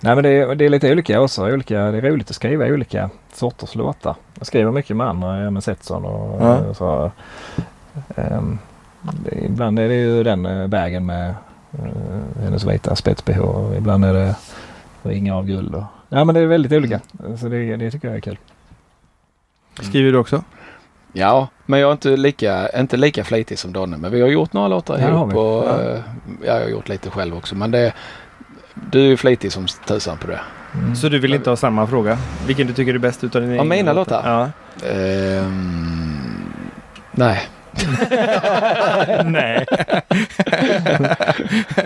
[SPEAKER 4] Nej men det är, det är lite olika också. Olika, det är roligt att skriva olika sorters låtar. Jag skriver mycket med andra, ja, med Setson och
[SPEAKER 1] Ja.
[SPEAKER 4] och så. Ehm, det, ibland är det ju den eh, vägen med eh, hennes vita spets-bh. och Ibland är det ringar av guld. Och, ja men det är väldigt olika.
[SPEAKER 5] Mm.
[SPEAKER 4] Så det, det tycker jag är kul.
[SPEAKER 1] Skriver du också?
[SPEAKER 5] Ja, men jag är inte lika, inte lika flitig som Donne. Men vi har gjort några låtar
[SPEAKER 4] Ja, det har
[SPEAKER 5] ihop.
[SPEAKER 4] vi.
[SPEAKER 5] Och,
[SPEAKER 4] Ja.
[SPEAKER 5] eh, jag har gjort lite själv också. Men det, du är ju flitig som tusan på det.
[SPEAKER 4] Mm.
[SPEAKER 1] Så du vill inte ha samma fråga? Vilken du tycker är bäst utav dina
[SPEAKER 5] Av
[SPEAKER 1] egna
[SPEAKER 5] mina
[SPEAKER 1] Ja.
[SPEAKER 5] Ehm, nej,
[SPEAKER 1] Nej.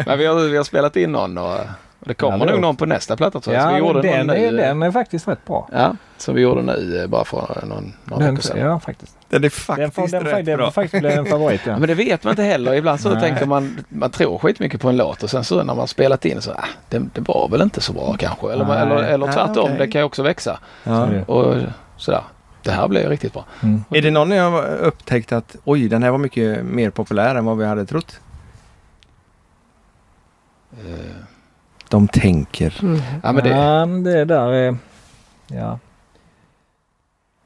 [SPEAKER 5] men vi har, vi har spelat in någon och, och det kommer
[SPEAKER 4] Ja, det
[SPEAKER 5] nog
[SPEAKER 4] är-
[SPEAKER 5] någon på nästa platta tror jag. Så
[SPEAKER 4] ja,
[SPEAKER 5] vi
[SPEAKER 4] men
[SPEAKER 5] gjorde
[SPEAKER 4] den,
[SPEAKER 5] någon eh,
[SPEAKER 4] är,
[SPEAKER 5] nu,
[SPEAKER 4] den är faktiskt rätt bra.
[SPEAKER 5] Ja, som vi gjorde nu eh, bara för någon, några
[SPEAKER 4] Den,
[SPEAKER 5] veckor sedan.
[SPEAKER 4] ja faktiskt.
[SPEAKER 1] Den är
[SPEAKER 4] Den,
[SPEAKER 1] faktiskt
[SPEAKER 4] får- den, den,
[SPEAKER 1] rätt
[SPEAKER 4] den,
[SPEAKER 1] bra.
[SPEAKER 4] får faktiskt blev en favorit.
[SPEAKER 5] Ja,
[SPEAKER 4] Ja.
[SPEAKER 5] men det vet man inte heller. Ibland så
[SPEAKER 4] Nej.
[SPEAKER 5] tänker man, man tror skitmycket på en låt och sen så när man spelat in så, ah, det, det var väl inte så bra kanske. Eller,
[SPEAKER 4] Nej.
[SPEAKER 5] eller, eller
[SPEAKER 1] Ah,
[SPEAKER 5] tvärtom,
[SPEAKER 1] okej.
[SPEAKER 5] det kan ju också växa.
[SPEAKER 1] Ja.
[SPEAKER 4] Så det-
[SPEAKER 5] Och sådär, det här blev riktigt bra.
[SPEAKER 4] Mm.
[SPEAKER 1] Är det någon ni har upptäckt att oj, den här var mycket mer populär än vad vi hade trott?
[SPEAKER 5] Eh,
[SPEAKER 1] De tänker.
[SPEAKER 2] Mm.
[SPEAKER 5] Ja, men det,
[SPEAKER 4] Ja, men det där är... Ja.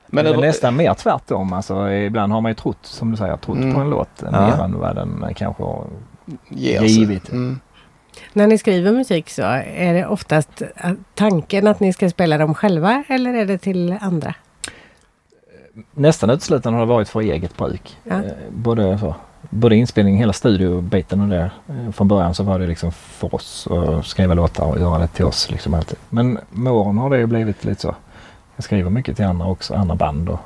[SPEAKER 5] men
[SPEAKER 4] det är
[SPEAKER 5] över-
[SPEAKER 4] nästan mer tvärtom. Alltså, ibland har man ju trott, som du säger, trott
[SPEAKER 5] Mm.
[SPEAKER 4] på en låt eh,
[SPEAKER 1] Ja.
[SPEAKER 4] mer än vad den eh, kanske har.
[SPEAKER 5] ger
[SPEAKER 4] Givet.
[SPEAKER 5] sig. Mm.
[SPEAKER 2] När ni skriver musik så, är det oftast eh, tanken att ni ska spela dem själva eller är det till andra?
[SPEAKER 4] Nästan uteslutande har det varit för eget bruk.
[SPEAKER 2] Ja.
[SPEAKER 4] Eh, Både, så, både inspelning, hela studiobiten och det. Eh, Från början så var det liksom för oss att skriva låtar och göra det till oss. Liksom alltid. Men med åren har det ju blivit lite så. Jag skriver mycket till andra också, andra band. Och,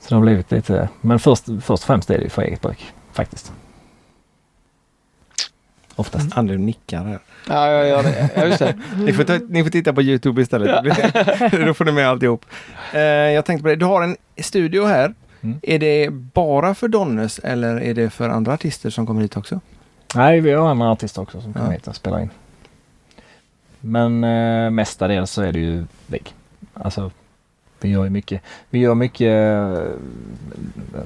[SPEAKER 4] så det har blivit lite... Men först, först och främst är det ju för eget bruk, faktiskt. Oftast.
[SPEAKER 1] Andrew nickar här.
[SPEAKER 5] Ja, jag gör det. Ja, just det.
[SPEAKER 1] Ni får, ta, ni får titta på Youtube istället. Då får ni med alltihop. Eh, jag tänkte på det, du har en studio här.
[SPEAKER 4] Mm.
[SPEAKER 1] Är det bara för Donnes eller är det för andra artister som kommer hit också?
[SPEAKER 4] Nej, vi har andra artister också som kommer
[SPEAKER 1] Ja.
[SPEAKER 4] hit och spelar in. Men eh, mestadels så är det ju vi. Alltså, vi gör ju mycket, vi gör mycket eh,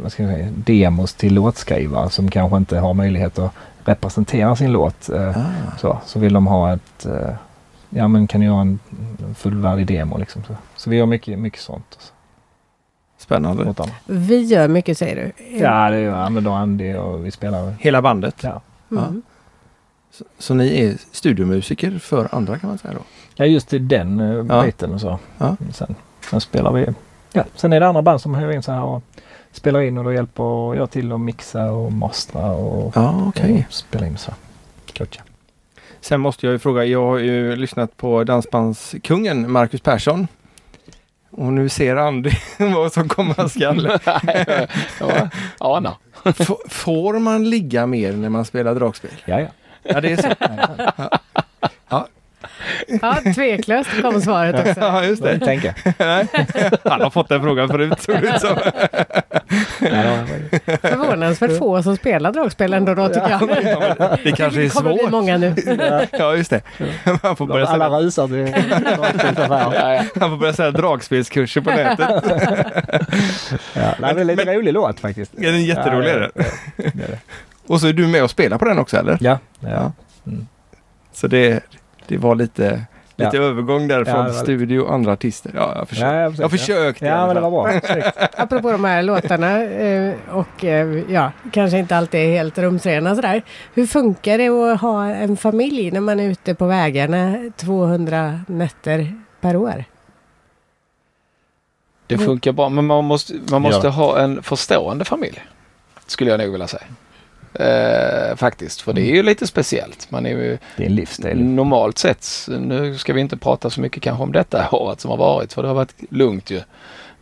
[SPEAKER 4] vad ska jag säga, demos till låtskrivare som kanske inte har möjlighet att representera sin låt. Eh,
[SPEAKER 1] Ah.
[SPEAKER 4] så, så vill de ha ett, eh, ja men kan ni göra en en fullvärdig demo liksom. Så, så vi gör mycket, mycket sånt. Alltså,
[SPEAKER 1] Spännande.
[SPEAKER 4] åt andra.
[SPEAKER 2] Vi gör mycket säger du.
[SPEAKER 4] ja, det är ju Använda Andy och vi spelar.
[SPEAKER 1] Hela bandet.
[SPEAKER 4] Ja.
[SPEAKER 2] Mm.
[SPEAKER 1] Så, så ni är studiomusiker för andra kan man säga då?
[SPEAKER 4] Ja just i den eh,
[SPEAKER 1] Ja.
[SPEAKER 4] biten och så.
[SPEAKER 1] Ja.
[SPEAKER 4] Sen, sen spelar vi. Ja. Sen är det andra band som hyr in så här och spelar in och då hjälper jag till att mixa och mastra och,
[SPEAKER 1] Ja, okej.
[SPEAKER 4] och spela in så. Klotcha.
[SPEAKER 1] Eh, Sen måste jag ju fråga, jag har ju lyssnat på dansbandskungen Marcus Persson. Och nu ser Andy vad som komma skall.
[SPEAKER 5] Nej, jag- jag anar.
[SPEAKER 1] F- får man ligga mer när man spelar dragspel?
[SPEAKER 4] Ja, ja.
[SPEAKER 1] Ja, det är så.
[SPEAKER 2] Ja, tveklöst kom svaret också.
[SPEAKER 1] Ja, just
[SPEAKER 4] Vad vill
[SPEAKER 1] det.
[SPEAKER 4] du tänka?
[SPEAKER 1] Nej. Han har fått den frågan förut, såg det ut som.
[SPEAKER 4] Nej, det var-
[SPEAKER 2] Förvånansvärt förvånansvärt få som spelar dragspel ändå då tycker jag.
[SPEAKER 1] Det kanske är
[SPEAKER 2] Det kommer bli
[SPEAKER 1] svårt.
[SPEAKER 2] många nu.
[SPEAKER 1] Ja, just det. Man får börja sälja,
[SPEAKER 4] Alla rusar till dragspelsaffären.
[SPEAKER 5] Ja, ja.
[SPEAKER 1] man får börja sälja dragspelskurser på nätet.
[SPEAKER 4] Ja, nej, det är en lite rolig låt faktiskt.
[SPEAKER 1] Ja, den är jätterolig.
[SPEAKER 4] Ja,
[SPEAKER 1] är
[SPEAKER 4] det
[SPEAKER 1] den.
[SPEAKER 4] är- det är det.
[SPEAKER 1] Och så är du med och spelar på den också eller?
[SPEAKER 4] Ja,
[SPEAKER 1] Ja.
[SPEAKER 4] ja.
[SPEAKER 1] Så det, det var lite, lite
[SPEAKER 4] Ja.
[SPEAKER 1] övergång där
[SPEAKER 4] Ja,
[SPEAKER 1] från
[SPEAKER 4] det var-
[SPEAKER 1] studio och andra artister. Ja, jag försökte.
[SPEAKER 4] Ja, jag försökte.
[SPEAKER 1] Jag försökte i alla
[SPEAKER 4] Ja, men det var
[SPEAKER 1] fall.
[SPEAKER 4] bra.
[SPEAKER 2] Apropå de här låtarna eh, och eh, ja, kanske inte alltid är helt rumsrena sådär. Hur funkar det att ha en familj när man är ute på vägarna 200 nätter per år?
[SPEAKER 5] Det funkar bra men man måste, man måste
[SPEAKER 4] Mm. Ja.
[SPEAKER 5] ha en förstående familj. Skulle jag nog vilja säga. Eh, faktiskt, för det är ju lite speciellt. Man är ju
[SPEAKER 4] Mm. Det är en livsstil.
[SPEAKER 5] normalt sett, nu ska vi inte prata så mycket kanske om detta året som har varit för det har varit lugnt ju.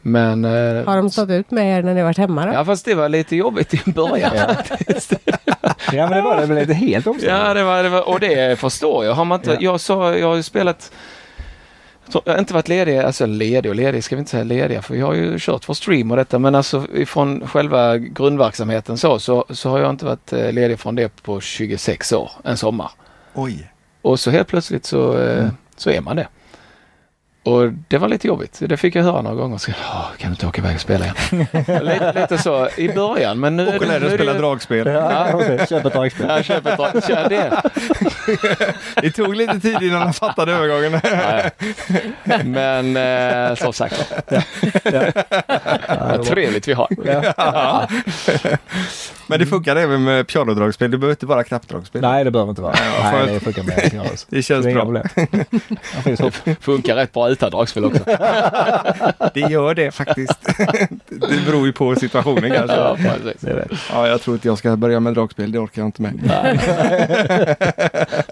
[SPEAKER 5] Men... eh,
[SPEAKER 2] Har de stått ut med er när ni har varit hemma då?
[SPEAKER 5] Ja fast det var lite jobbigt i början. Ja,
[SPEAKER 4] Ja, men det var det. Men det är helt omständigt.
[SPEAKER 5] det var, det var, och det förstår jag. Har man inte,
[SPEAKER 4] Ja.
[SPEAKER 5] jag, sa, jag har ju spelat jag tror- jag har inte varit ledig, alltså ledig och ledig ska vi inte säga lediga för vi har ju kört för stream och detta men alltså ifrån själva grundverksamheten så, så, så har jag inte varit eh, ledig från det på 26 år, en sommar.
[SPEAKER 1] Oj.
[SPEAKER 5] Och så helt plötsligt så, eh,
[SPEAKER 1] Mm.
[SPEAKER 5] så är man det. Och det var lite jobbigt. Det fick jag höra några gånger. Så, "Åh, kan du inte åka iväg och spela igen? lite, lite så i början. Men nu
[SPEAKER 1] Och lärde
[SPEAKER 5] nu
[SPEAKER 1] dig spela
[SPEAKER 5] det-
[SPEAKER 1] dragspel.
[SPEAKER 4] Ja, precis. Köp ett dragspel.
[SPEAKER 5] Ja, köp ett drag. Kör det.
[SPEAKER 1] Det tog lite tid innan han fattade övergången.
[SPEAKER 5] Nej. Men eh, som sagt vad trevligt vi har.
[SPEAKER 1] Ja. Men det funkar även med pianodragspel. Du behöver inte bara knappdragspel.
[SPEAKER 4] Nej, det behöver inte vara. Nej, det funkar med Knarus.
[SPEAKER 1] Det känns
[SPEAKER 4] Det är inga
[SPEAKER 1] bra.
[SPEAKER 4] problem. Det finns hopp.
[SPEAKER 5] Funkar rätt bra utan dragspel också.
[SPEAKER 1] Det gör det faktiskt. Det beror ju på situationen kanske.
[SPEAKER 5] Ja, precis.
[SPEAKER 4] Det är det.
[SPEAKER 1] Ja, jag tror inte jag ska börja med dragspel. Det orkar jag inte med.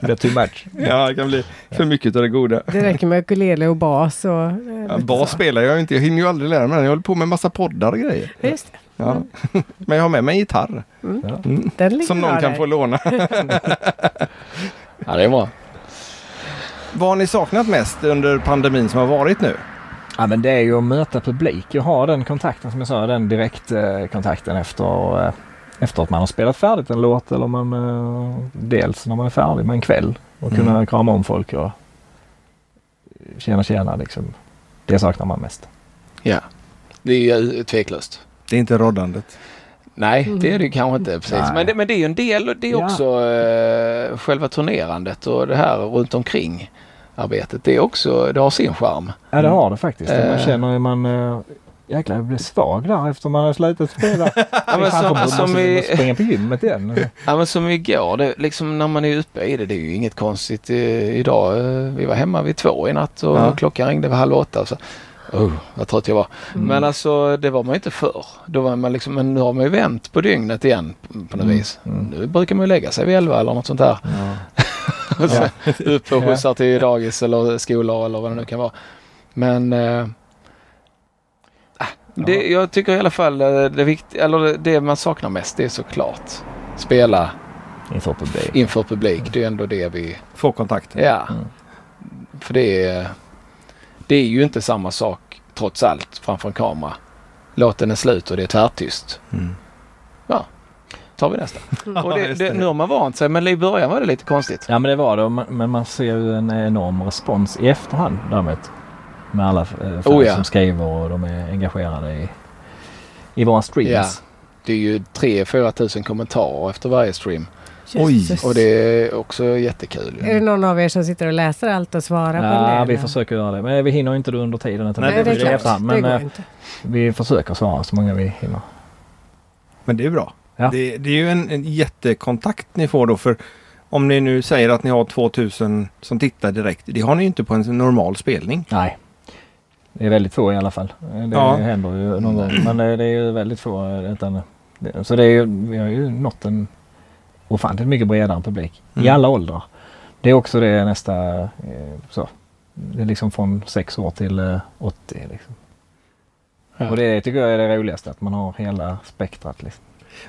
[SPEAKER 4] Det blir too much.
[SPEAKER 1] Ja, det kan bli för mycket av det goda.
[SPEAKER 2] Det räcker med ukulele och bas och... eh,
[SPEAKER 1] Ja,
[SPEAKER 2] lite
[SPEAKER 1] bas
[SPEAKER 2] så.
[SPEAKER 1] spelar jag ju inte. Jag hinner ju aldrig lära mig den. Jag håller på med massa poddar och grejer.
[SPEAKER 2] Just det.
[SPEAKER 1] Ja.
[SPEAKER 4] Mm.
[SPEAKER 1] Men jag har med mig en gitarr.
[SPEAKER 2] Den ligger
[SPEAKER 1] Som
[SPEAKER 2] bra
[SPEAKER 1] någon
[SPEAKER 4] eh.
[SPEAKER 1] kan
[SPEAKER 2] där.
[SPEAKER 1] få låna.
[SPEAKER 5] Ja, det är bra.
[SPEAKER 1] Vad har ni saknat mest under pandemin som har varit nu?
[SPEAKER 4] Ja, men det är ju att möta publik. Jag har den kontakten som jag sa, den direktkontakten efter, eh, efter att man har spelat färdigt en låt eller man, eh, dels när man är färdig med en kväll och
[SPEAKER 1] Mm.
[SPEAKER 4] kunna krama om folk och tjena tjena liksom. Det saknar man mest.
[SPEAKER 5] Ja, det är ju tveklöst.
[SPEAKER 1] Det är inte roddandet.
[SPEAKER 5] Nej, det är det ju kanske inte precis.
[SPEAKER 4] Nej.
[SPEAKER 5] Men det, men det är ju en del och det är
[SPEAKER 4] Ja.
[SPEAKER 5] också eh, själva turnerandet och det här runt omkring arbetet. Det är också, det har sin charm.
[SPEAKER 4] Ja det har det faktiskt. Man
[SPEAKER 5] Eh.
[SPEAKER 4] känner att man eh, jäklar jag blev svag där efter man har slutat spela.
[SPEAKER 5] Ja, men
[SPEAKER 4] Fan,
[SPEAKER 5] som,
[SPEAKER 4] man
[SPEAKER 5] som,
[SPEAKER 4] måste
[SPEAKER 5] i,
[SPEAKER 4] springa på gymmet igen.
[SPEAKER 5] ja, men som igår, det, liksom när man är uppe i det, det är ju inget konstigt eh, idag. eh, Vi var hemma vid två i natt och
[SPEAKER 1] Ja.
[SPEAKER 5] klockan ringde vid halv åtta. Så. Oh, vad trött jag var.
[SPEAKER 4] Mm.
[SPEAKER 5] Men alltså det var man ju inte förr. Då var man liksom, men nu har man ju vänt på dygnet igen på något vis.
[SPEAKER 4] Mm.
[SPEAKER 5] Nu brukar man ju lägga sig vid elva eller något sånt där. Och sen upp och skjutsar till dagis eller skolor eller vad det nu kan vara. Men eh, ah, det, jag tycker i alla fall eh, det, vikt, eller det- det man saknar mest det är såklart spela
[SPEAKER 4] Inför publik.
[SPEAKER 5] inför publik. Det är ändå det vi...
[SPEAKER 1] Få kontakten.
[SPEAKER 5] Ja.
[SPEAKER 4] Mm.
[SPEAKER 5] För det är, det är ju inte samma sak trots allt framför en kamera. Låten är slut och det är tvärtyst.
[SPEAKER 1] Mm.
[SPEAKER 5] tar vi nästa. Och
[SPEAKER 1] Ja,
[SPEAKER 5] det,
[SPEAKER 1] just
[SPEAKER 5] det,
[SPEAKER 1] det.
[SPEAKER 5] nu har man vant sig men i början var det lite konstigt.
[SPEAKER 4] Ja men det var det. Och man- Men man ser ju en enorm respons i efterhand däremot. Med alla eh, fans
[SPEAKER 5] Oh, ja.
[SPEAKER 4] som skriver och de är engagerade i, i våra streams.
[SPEAKER 5] Det är ju 3-4 tusen kommentarer efter varje stream.
[SPEAKER 2] Jesus.
[SPEAKER 5] Och det är också jättekul.
[SPEAKER 2] Är det någon av er som sitter och läser allt och svarar på en
[SPEAKER 4] Ja,
[SPEAKER 2] del?
[SPEAKER 4] vi försöker göra det. Men vi hinner ju inte det under tiden. Utan
[SPEAKER 1] Nej,
[SPEAKER 2] Nej, det
[SPEAKER 4] blir
[SPEAKER 2] är
[SPEAKER 4] i
[SPEAKER 1] klart.
[SPEAKER 4] efterhand.
[SPEAKER 2] klart. Det
[SPEAKER 4] Men
[SPEAKER 2] går
[SPEAKER 4] eh,
[SPEAKER 2] inte.
[SPEAKER 4] vi försöker svara så många vi hinner.
[SPEAKER 1] Men det är bra.
[SPEAKER 4] Ja.
[SPEAKER 1] Det, det är ju en, en jättekontakt ni får då. För om ni nu säger att ni har 2000 som tittar direkt. Det har ni ju inte på en normal spelning.
[SPEAKER 4] Nej. Det är väldigt få i alla fall. Det
[SPEAKER 1] Ja.
[SPEAKER 4] händer ju någon gång. Men det, det är ju väldigt få. eh, Utan, det, så det är ju, vi har ju nått en ofantligt mycket bredare publik. I
[SPEAKER 1] Mm.
[SPEAKER 4] alla åldrar. Det är också det nästa... eh, Så. Det är liksom från 6 år till eh, 80. Liksom.
[SPEAKER 5] Ja.
[SPEAKER 4] Och det tycker jag är det roligaste. Att man har hela spektrat. Liksom.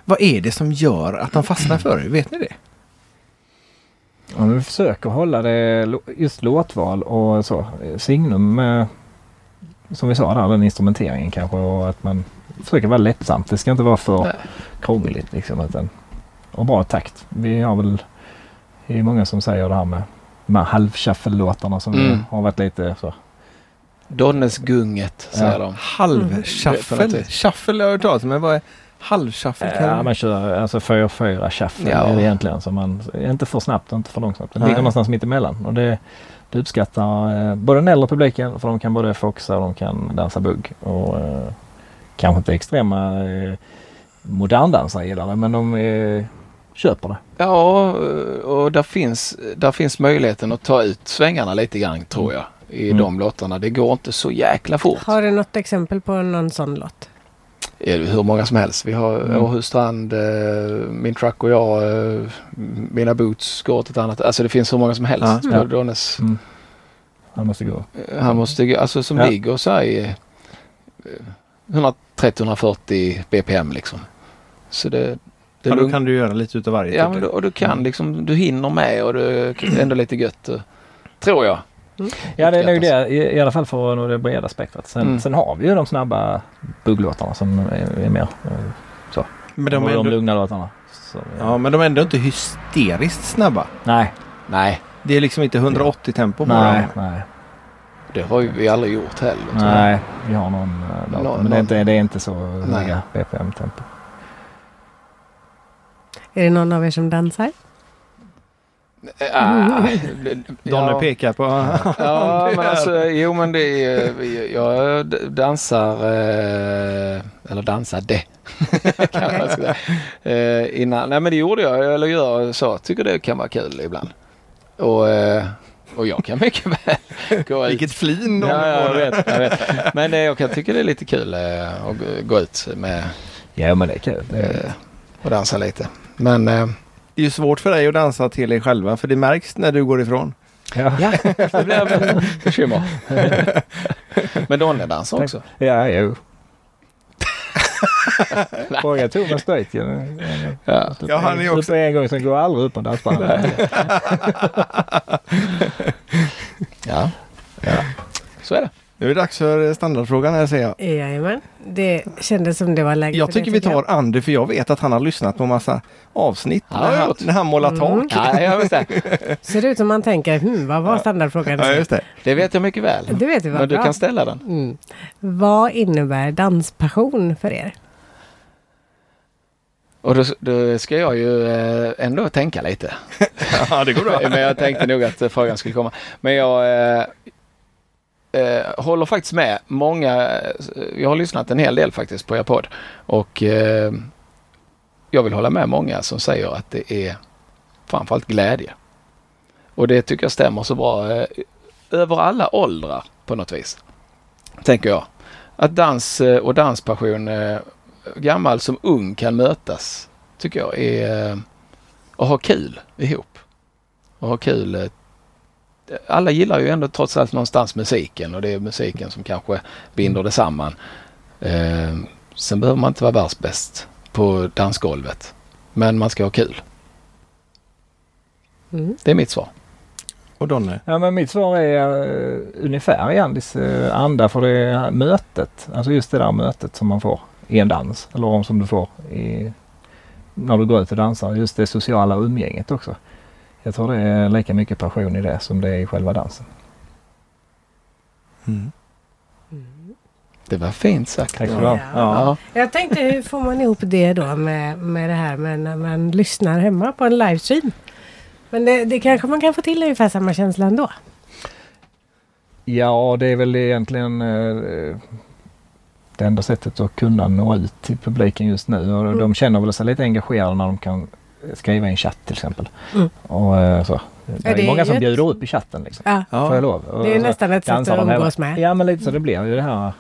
[SPEAKER 1] Vad är det som gör att de fastnar för er? Vet ni det?
[SPEAKER 4] Ja, men vi försöker hålla det lo- just låtval och så. Eh, Signum eh, som vi sa där, den instrumenteringen kanske och att man försöka vara lättsamt. Det ska inte vara för
[SPEAKER 5] Nej.
[SPEAKER 4] krångligt liksom. Utan, och bra takt. Vi har väl, det är många som säger det här med de här halvshuffle-låtarna som
[SPEAKER 5] Mm.
[SPEAKER 4] vi har varit lite så.
[SPEAKER 5] Donnesgunget säger
[SPEAKER 4] Ja.
[SPEAKER 5] de.
[SPEAKER 1] Halvshuffle.
[SPEAKER 5] Definitivt.
[SPEAKER 1] Shuffle har jag hört talas om, men vad är halvshuffle? kan
[SPEAKER 4] Eh, Ja,
[SPEAKER 1] det-
[SPEAKER 4] man kör alltså 4-4 shuffle
[SPEAKER 5] Ja.
[SPEAKER 4] är det egentligen. Så man, inte för snabbt och inte för långsamt. Det
[SPEAKER 1] Nej.
[SPEAKER 4] ligger någonstans mitt emellan. Och det, det uppskattar eh, både den äldre publiken för de kan både foxa och de kan dansa bugg. Och eh, kanske inte extrema eh, moderndansare gillar det men de eh, köper det.
[SPEAKER 5] Ja, och där finns, där finns möjligheten att ta ut svängarna lite grann tror jag. I
[SPEAKER 4] Mm.
[SPEAKER 5] de låtarna. Det går inte så jäkla fort.
[SPEAKER 2] Har du något exempel på någon sån låt?
[SPEAKER 5] är det hur många som helst. Vi har
[SPEAKER 4] Mm.
[SPEAKER 5] Åhus strand, eh, min truck och jag, eh, m- mina boots går åt ett annat. Alltså det finns hur många som helst.
[SPEAKER 4] Ja.
[SPEAKER 5] Bror Donnes,
[SPEAKER 4] Han måste gå.
[SPEAKER 5] eh, han måste, gå- alltså som
[SPEAKER 4] Ja.
[SPEAKER 5] ligger så här i eh, 130-140 BPM liksom. Så det, det
[SPEAKER 1] ja, då
[SPEAKER 5] lugn-
[SPEAKER 1] kan du göra lite utav varje.
[SPEAKER 5] Ja,
[SPEAKER 1] typ.
[SPEAKER 5] men du, och du kan
[SPEAKER 4] Mm.
[SPEAKER 5] liksom, du hinner med och du ändå lite gött. eh, Tror jag.
[SPEAKER 4] Ja det är nog
[SPEAKER 5] Uppskattas.
[SPEAKER 4] det i, i alla fall för att nå det breda spektrat. Sen,
[SPEAKER 5] Mm.
[SPEAKER 4] sen har vi ju de snabba bugglåtarna som är, är mer eh,
[SPEAKER 1] men
[SPEAKER 4] de,
[SPEAKER 1] de är
[SPEAKER 4] de
[SPEAKER 1] ändå,
[SPEAKER 4] lugna låtarna. Så,
[SPEAKER 1] ja, men de är ändå inte hysteriskt snabba.
[SPEAKER 4] Nej,
[SPEAKER 5] Nej,
[SPEAKER 1] Det är liksom inte 180 tempo på
[SPEAKER 4] nej,
[SPEAKER 1] dem.
[SPEAKER 4] nej.
[SPEAKER 5] det har ju vi aldrig gjort heller. tror jag.
[SPEAKER 4] Nej, vi har någon eh, dator.
[SPEAKER 5] Nå-
[SPEAKER 4] men det är,
[SPEAKER 5] någon-
[SPEAKER 4] inte, det är inte så
[SPEAKER 5] Nej.
[SPEAKER 4] höga BPM-tempo.
[SPEAKER 2] Är det någon av er som dansar?
[SPEAKER 5] Ah,
[SPEAKER 1] Donne
[SPEAKER 5] ja.
[SPEAKER 1] pekar på...
[SPEAKER 5] Ja,
[SPEAKER 1] Det
[SPEAKER 5] men
[SPEAKER 1] är-
[SPEAKER 5] alltså, jo men det är, jag dansar, eh, eller dansade kan man säga. Eh, innan, nej men det gjorde jag, eller gör så, tycker det kan vara kul ibland. Och, eh, och jag kan mycket väl gå ut.
[SPEAKER 1] Vilket flin de
[SPEAKER 5] Ja, ja, jag
[SPEAKER 1] har.
[SPEAKER 5] vet, jag vet. Men eh, jag kan tycka det är lite kul eh, att gå- gå ut med,
[SPEAKER 4] Ja, men det är kul. Det är,
[SPEAKER 5] eh, och dansa lite. Men eh,
[SPEAKER 1] Det är ju svårt för dig att dansa till dig själva för det märks när du går ifrån.
[SPEAKER 4] ja.
[SPEAKER 5] ja, det blev bekymmer. Men Donne dansar också.
[SPEAKER 4] ja, jo. Fråga Thomas Deutjen.
[SPEAKER 5] Ja.
[SPEAKER 1] Ja, han är också-
[SPEAKER 4] Super en gång, sen går jag aldrig upp på dansbandet.
[SPEAKER 5] Ja. ja. Så är det.
[SPEAKER 1] Nu är det dags för standardfrågan här säger jag.
[SPEAKER 2] Jajamän. Det kändes som det var läge
[SPEAKER 1] Jag
[SPEAKER 2] för det,
[SPEAKER 1] tycker vi tar Andy för jag vet att han har lyssnat på massa avsnitt
[SPEAKER 5] Ja, det har
[SPEAKER 1] när,
[SPEAKER 5] jag Mm.
[SPEAKER 1] han,
[SPEAKER 5] gjort.
[SPEAKER 1] när han målar tak.
[SPEAKER 5] Ja, jag vet det.
[SPEAKER 2] jag. Ser det ut som man tänker, hmm, vad var standardfrågan?
[SPEAKER 1] Ja, just det.
[SPEAKER 5] det vet jag mycket väl.
[SPEAKER 2] Det vet vi vad
[SPEAKER 5] Men du
[SPEAKER 2] bra.
[SPEAKER 5] kan ställa den.
[SPEAKER 2] Mm. Vad innebär danspassion för er?
[SPEAKER 5] Och då, då ska jag ju eh, ändå tänka lite.
[SPEAKER 1] Ja, det går bra.
[SPEAKER 5] Men jag tänkte nog att eh, frågan skulle komma. Men jag eh, eh, håller faktiskt med många. eh, Jag har lyssnat en hel del faktiskt på er podd. Och eh, jag vill hålla med många som säger att det är framförallt glädje. Och det tycker jag stämmer så bra eh, över alla åldrar på något vis. Tänker jag. Att dans eh, och danspassion eh, gammal som ung kan mötas tycker jag är eh, och ha kul ihop och ha kul. eh, Alla gillar ju ändå trots allt någonstans musiken och det är musiken som kanske binder det samman. Eh, sen behöver man inte vara världsbäst på dansgolvet. Men man ska ha kul.
[SPEAKER 2] Mm.
[SPEAKER 5] Det är mitt svar.
[SPEAKER 1] Och Donne.
[SPEAKER 4] Ja, men mitt svar är eh, ungefär i Andys eh, anda för det mötet. Alltså just det där mötet som man får i en dans. Eller om som du får i, när du går ut och dansar. Just det sociala umgänget också. Jag tror det är lika mycket passion i det som det är i själva dansen.
[SPEAKER 1] Mm.
[SPEAKER 5] Det var fint sagt.
[SPEAKER 4] Tack ska du ha.
[SPEAKER 1] Ja.
[SPEAKER 5] Ja.
[SPEAKER 2] Jag tänkte, hur får man ihop det då med, med det här med när man lyssnar hemma på en livestream? Men det, det kanske man kan få till ungefär samma känsla ändå.
[SPEAKER 4] Ja, det är väl egentligen eh, det enda sättet att kunna nå ut till publiken just nu. Och
[SPEAKER 2] Mm.
[SPEAKER 4] De känner väl sig lite engagerade när de kan skriva i en chatt till exempel.
[SPEAKER 2] Mm.
[SPEAKER 4] Och, eh, så. Det är,
[SPEAKER 2] det är
[SPEAKER 4] många som
[SPEAKER 2] ju ett-
[SPEAKER 4] bjuder upp i chatten. Liksom.
[SPEAKER 2] Ja,
[SPEAKER 1] Ja.
[SPEAKER 4] Får jag lov? Och
[SPEAKER 2] det är ju
[SPEAKER 4] så
[SPEAKER 2] nästan ett sätt att
[SPEAKER 4] dansar de hemma.
[SPEAKER 2] umgås med.
[SPEAKER 4] Ja, men lite så det blir ju det här.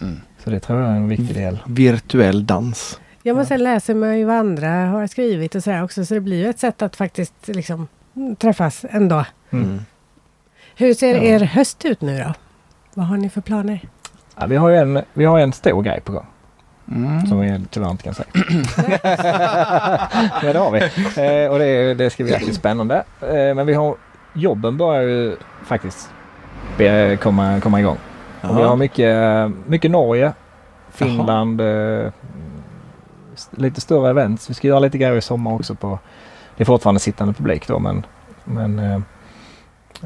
[SPEAKER 5] Mm.
[SPEAKER 4] Så det tror jag är en viktig
[SPEAKER 1] Mm.
[SPEAKER 4] del.
[SPEAKER 1] Virtuell dans.
[SPEAKER 2] Ja, men sen läser man ju vad andra har skrivit och sådär också, så det blir ju ett sätt att faktiskt liksom mm, träffas ändå.
[SPEAKER 1] Mm.
[SPEAKER 2] Hur ser er höst ut nu då? Vad har ni för planer?
[SPEAKER 4] Ja, vi, har ju en, vi har en stor grej på gång
[SPEAKER 5] Mm.
[SPEAKER 4] som vi tyvärr inte kan säga. men det har vi. Eh, och det, det ska bli jäkligt spännande. Eh, men vi har, jobben börjar ju faktiskt be- komma, komma igång. Och vi har mycket, mycket Norge Finland, eh, st- lite större events. Vi ska göra lite grejer i sommar också. På, det är fortfarande sittande publik då men, men eh,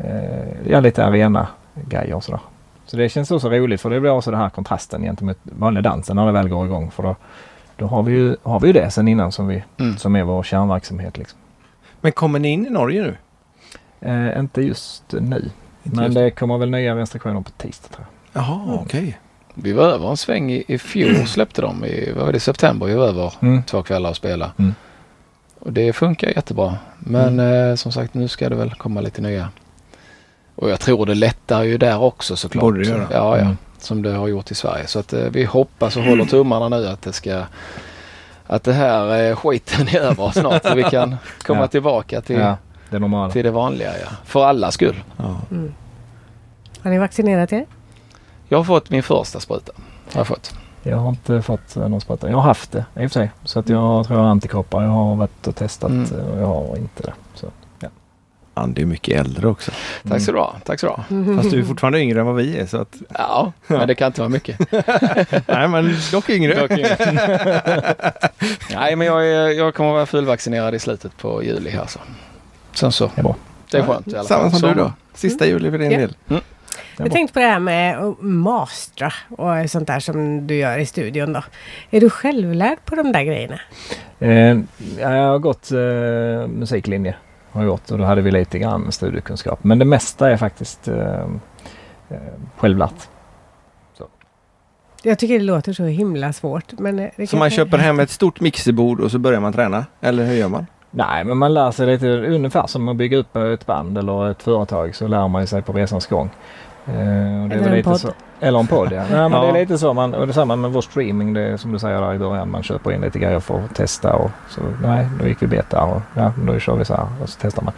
[SPEAKER 4] eh, ja, lite arena-grejer och sådär. Så det känns också roligt för det blir också den här kontrasten gentemot vanliga dansen när det väl går igång. För då, då har, vi ju, har vi ju det sen innan som, vi,
[SPEAKER 5] Mm.
[SPEAKER 4] som är vår kärnverksamhet. Liksom.
[SPEAKER 1] Men kommer ni in i Norge nu?
[SPEAKER 4] Eh, inte just nu.
[SPEAKER 1] Inte
[SPEAKER 4] men
[SPEAKER 1] just
[SPEAKER 4] det kommer väl nya restriktioner på tisdag tror jag.
[SPEAKER 1] Jaha, okej.
[SPEAKER 5] Vi var över en sväng i, i fjol släppte de. I, vad var det, september? Vi var över två kvällar och spela.
[SPEAKER 4] Mm.
[SPEAKER 5] Och det funkar jättebra. Men eh, som sagt nu ska det väl komma lite nya. Och jag tror det lättar ju där också såklart.
[SPEAKER 1] Borde det göra.
[SPEAKER 5] Ja, ja.
[SPEAKER 4] Mm.
[SPEAKER 5] Som det har gjort i Sverige. Så att eh, vi hoppas och håller tummarna nu att det ska att det här eh, skiten är över snart så vi kan komma
[SPEAKER 4] Ja.
[SPEAKER 5] tillbaka till,
[SPEAKER 4] Ja, det är normala.
[SPEAKER 5] till det vanliga. Ja. För alla skull.
[SPEAKER 1] Ja.
[SPEAKER 2] Mm. Har ni vaccinerat er?
[SPEAKER 5] Jag har fått min första spruta. Har jag fått.
[SPEAKER 4] Jag har inte fått eh, någon spruta. Jag har haft det i och för sig. Så att jag tror jag har antikroppar. Jag har varit och testat
[SPEAKER 5] Mm.
[SPEAKER 4] eh, och jag har inte det. Så.
[SPEAKER 1] Andy är mycket äldre också.
[SPEAKER 4] Mm.
[SPEAKER 5] Tack så du ha. Tack så du ha.
[SPEAKER 2] Mm.
[SPEAKER 1] Fast du är fortfarande yngre än vad vi är. Så att,
[SPEAKER 5] Ja, men det kan inte vara mycket.
[SPEAKER 1] nej, men dock yngre.
[SPEAKER 5] Nej, men jag, är, jag kommer vara fullvaccinerad i slutet på juli här så. Sen så.
[SPEAKER 4] Det är bra.
[SPEAKER 5] Det är skönt i alla fall.
[SPEAKER 1] Samma som du då. Sista juli för din
[SPEAKER 2] Ja.
[SPEAKER 1] del.
[SPEAKER 4] Ja,
[SPEAKER 2] Jag
[SPEAKER 4] bra.
[SPEAKER 2] tänkte på det här med att mastra och sånt där som du gör i studion då. Är du självlärd på de där grejerna?
[SPEAKER 4] Eh, jag har gått eh, musiklinje. Har jag gått, och då hade vi lite grann studiekunskap. Men det mesta är faktiskt eh, eh, självlärt.
[SPEAKER 2] Jag tycker det låter så himla svårt. Men eh, det
[SPEAKER 1] Så man
[SPEAKER 2] kanske-
[SPEAKER 1] köper hem ett stort mixerbord och så börjar man träna. Eller hur gör man?
[SPEAKER 4] Nej, men man lär sig lite ungefär som att bygga upp ett band eller ett företag så lär man sig på resans gång. Eh, och det är
[SPEAKER 2] Eller
[SPEAKER 4] väl
[SPEAKER 2] en
[SPEAKER 4] lite
[SPEAKER 2] podd.
[SPEAKER 4] Så, eller en podd ja. Nej, men
[SPEAKER 1] Ja.
[SPEAKER 4] Det är lite så. Man, och detsamma med vår streaming, det är som du säger där i början. Man köper in lite grejer för att testa och så nej, då gick vi beta och ja, då kör vi så här och så testar man.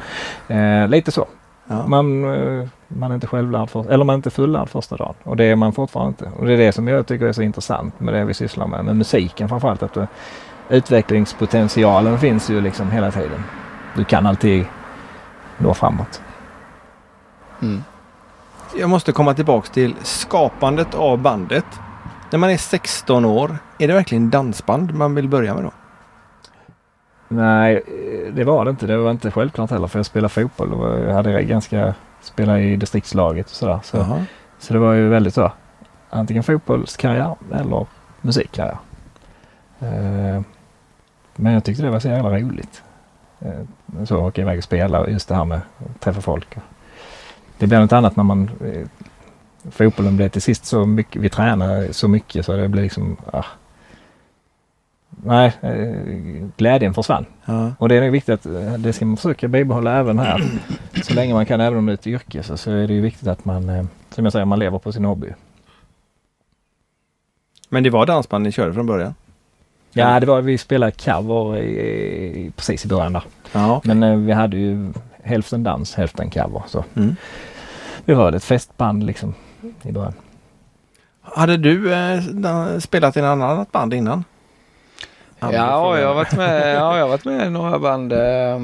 [SPEAKER 4] Eh, lite så.
[SPEAKER 1] Ja.
[SPEAKER 4] Man, eh, man är inte självlärd, för, eller man är inte fullärd första dagen. Och det är man fortfarande inte. Och det är det som jag tycker är så intressant med det vi sysslar med, med musiken framförallt. Att du, utvecklingspotentialen finns ju liksom hela tiden. Du kan alltid nå framåt.
[SPEAKER 5] Mm.
[SPEAKER 1] Jag måste komma tillbaks till skapandet av bandet. När man är 16 år, är det verkligen dansband man vill börja med då?
[SPEAKER 4] Nej, eh, det var det inte. Det var inte självklart heller för jag spelade fotboll och jag hade ganska spela i distriktslaget och sådär. Så,
[SPEAKER 1] Jaha.
[SPEAKER 4] så det var ju väldigt så. Antingen fotbollskarriär eller musikkarriär. Eh, Men jag tyckte det var så jävla roligt. Eh, Så att åka iväg och spela och just det här med att träffa folk. Det blir något annat när man... eh, Fotbollen blev till sist så mycket, vi tränade så mycket så det blev liksom... Ah. Nej, eh, glädjen försvann.
[SPEAKER 1] Ja.
[SPEAKER 4] Och det är nog viktigt att eh, det ska man försöka bibehålla även här. Så länge man kan, även om det är ett yrke, så, så är det ju viktigt att man, eh, som jag säger, man lever på sin hobby.
[SPEAKER 1] Men det var dansband ni körde från början?
[SPEAKER 4] Ja, det var, vi spelade cover i, i, precis i början där.
[SPEAKER 1] Ja.
[SPEAKER 4] Men eh, vi hade ju hälften dans, hälften cover. Så
[SPEAKER 1] Mm.
[SPEAKER 4] vi var ett festband liksom i början.
[SPEAKER 1] Hade du eh, da- spelat i något annat band innan? Anders
[SPEAKER 5] Ja,
[SPEAKER 1] frågar.
[SPEAKER 5] jag har varit med, ja, jag har varit med i några band. Eh,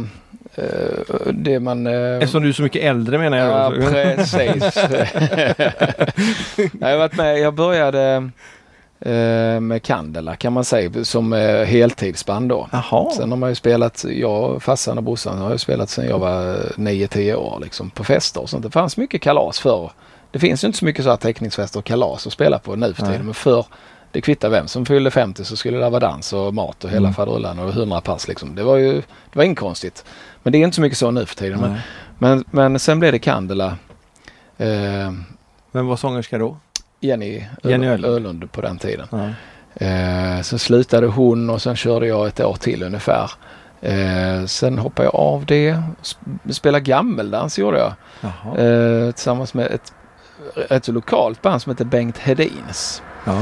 [SPEAKER 5] eh, det man... Eh,
[SPEAKER 1] Eftersom du är så mycket äldre menar
[SPEAKER 5] ja,
[SPEAKER 1] jag. då, så-
[SPEAKER 5] precis. jag har varit med. Jag började eh, med Candela kan man säga som eh, heltidsband då.
[SPEAKER 1] Jaha.
[SPEAKER 5] Sen har man ju spelat, jag, farsan och brorsan har ju spelat sedan jag var 9-10 år liksom på fester och sånt. Det fanns mycket kalas förr. Det finns ju inte så mycket så här teckningsfester och kalas att spela på nu för tiden.
[SPEAKER 1] Nej.
[SPEAKER 5] Men förr, det kvittar vem som fyllde 50 så skulle det vara dans och mat och hela
[SPEAKER 4] Mm.
[SPEAKER 5] faderullan och 100 pass liksom. Det var ju, det var inkonstigt. Men det är inte så mycket så nu för tiden. Men,
[SPEAKER 1] Nej.
[SPEAKER 5] men, men sen blev det Candela. Eh,
[SPEAKER 1] Vem var sångerska då?
[SPEAKER 5] Jenny,
[SPEAKER 1] Jenny
[SPEAKER 5] Öl-
[SPEAKER 1] Öhlund.
[SPEAKER 5] Ölund på den tiden.
[SPEAKER 1] Ja.
[SPEAKER 5] Eh, sen slutade hon och sen körde jag ett år till ungefär. Eh, sen hoppade jag av det. Sp- Spelade gammeldans gjorde jag.
[SPEAKER 1] Jaha.
[SPEAKER 5] Eh, tillsammans med ett, ett lokalt band som heter Bengt Hedins.
[SPEAKER 1] Ja.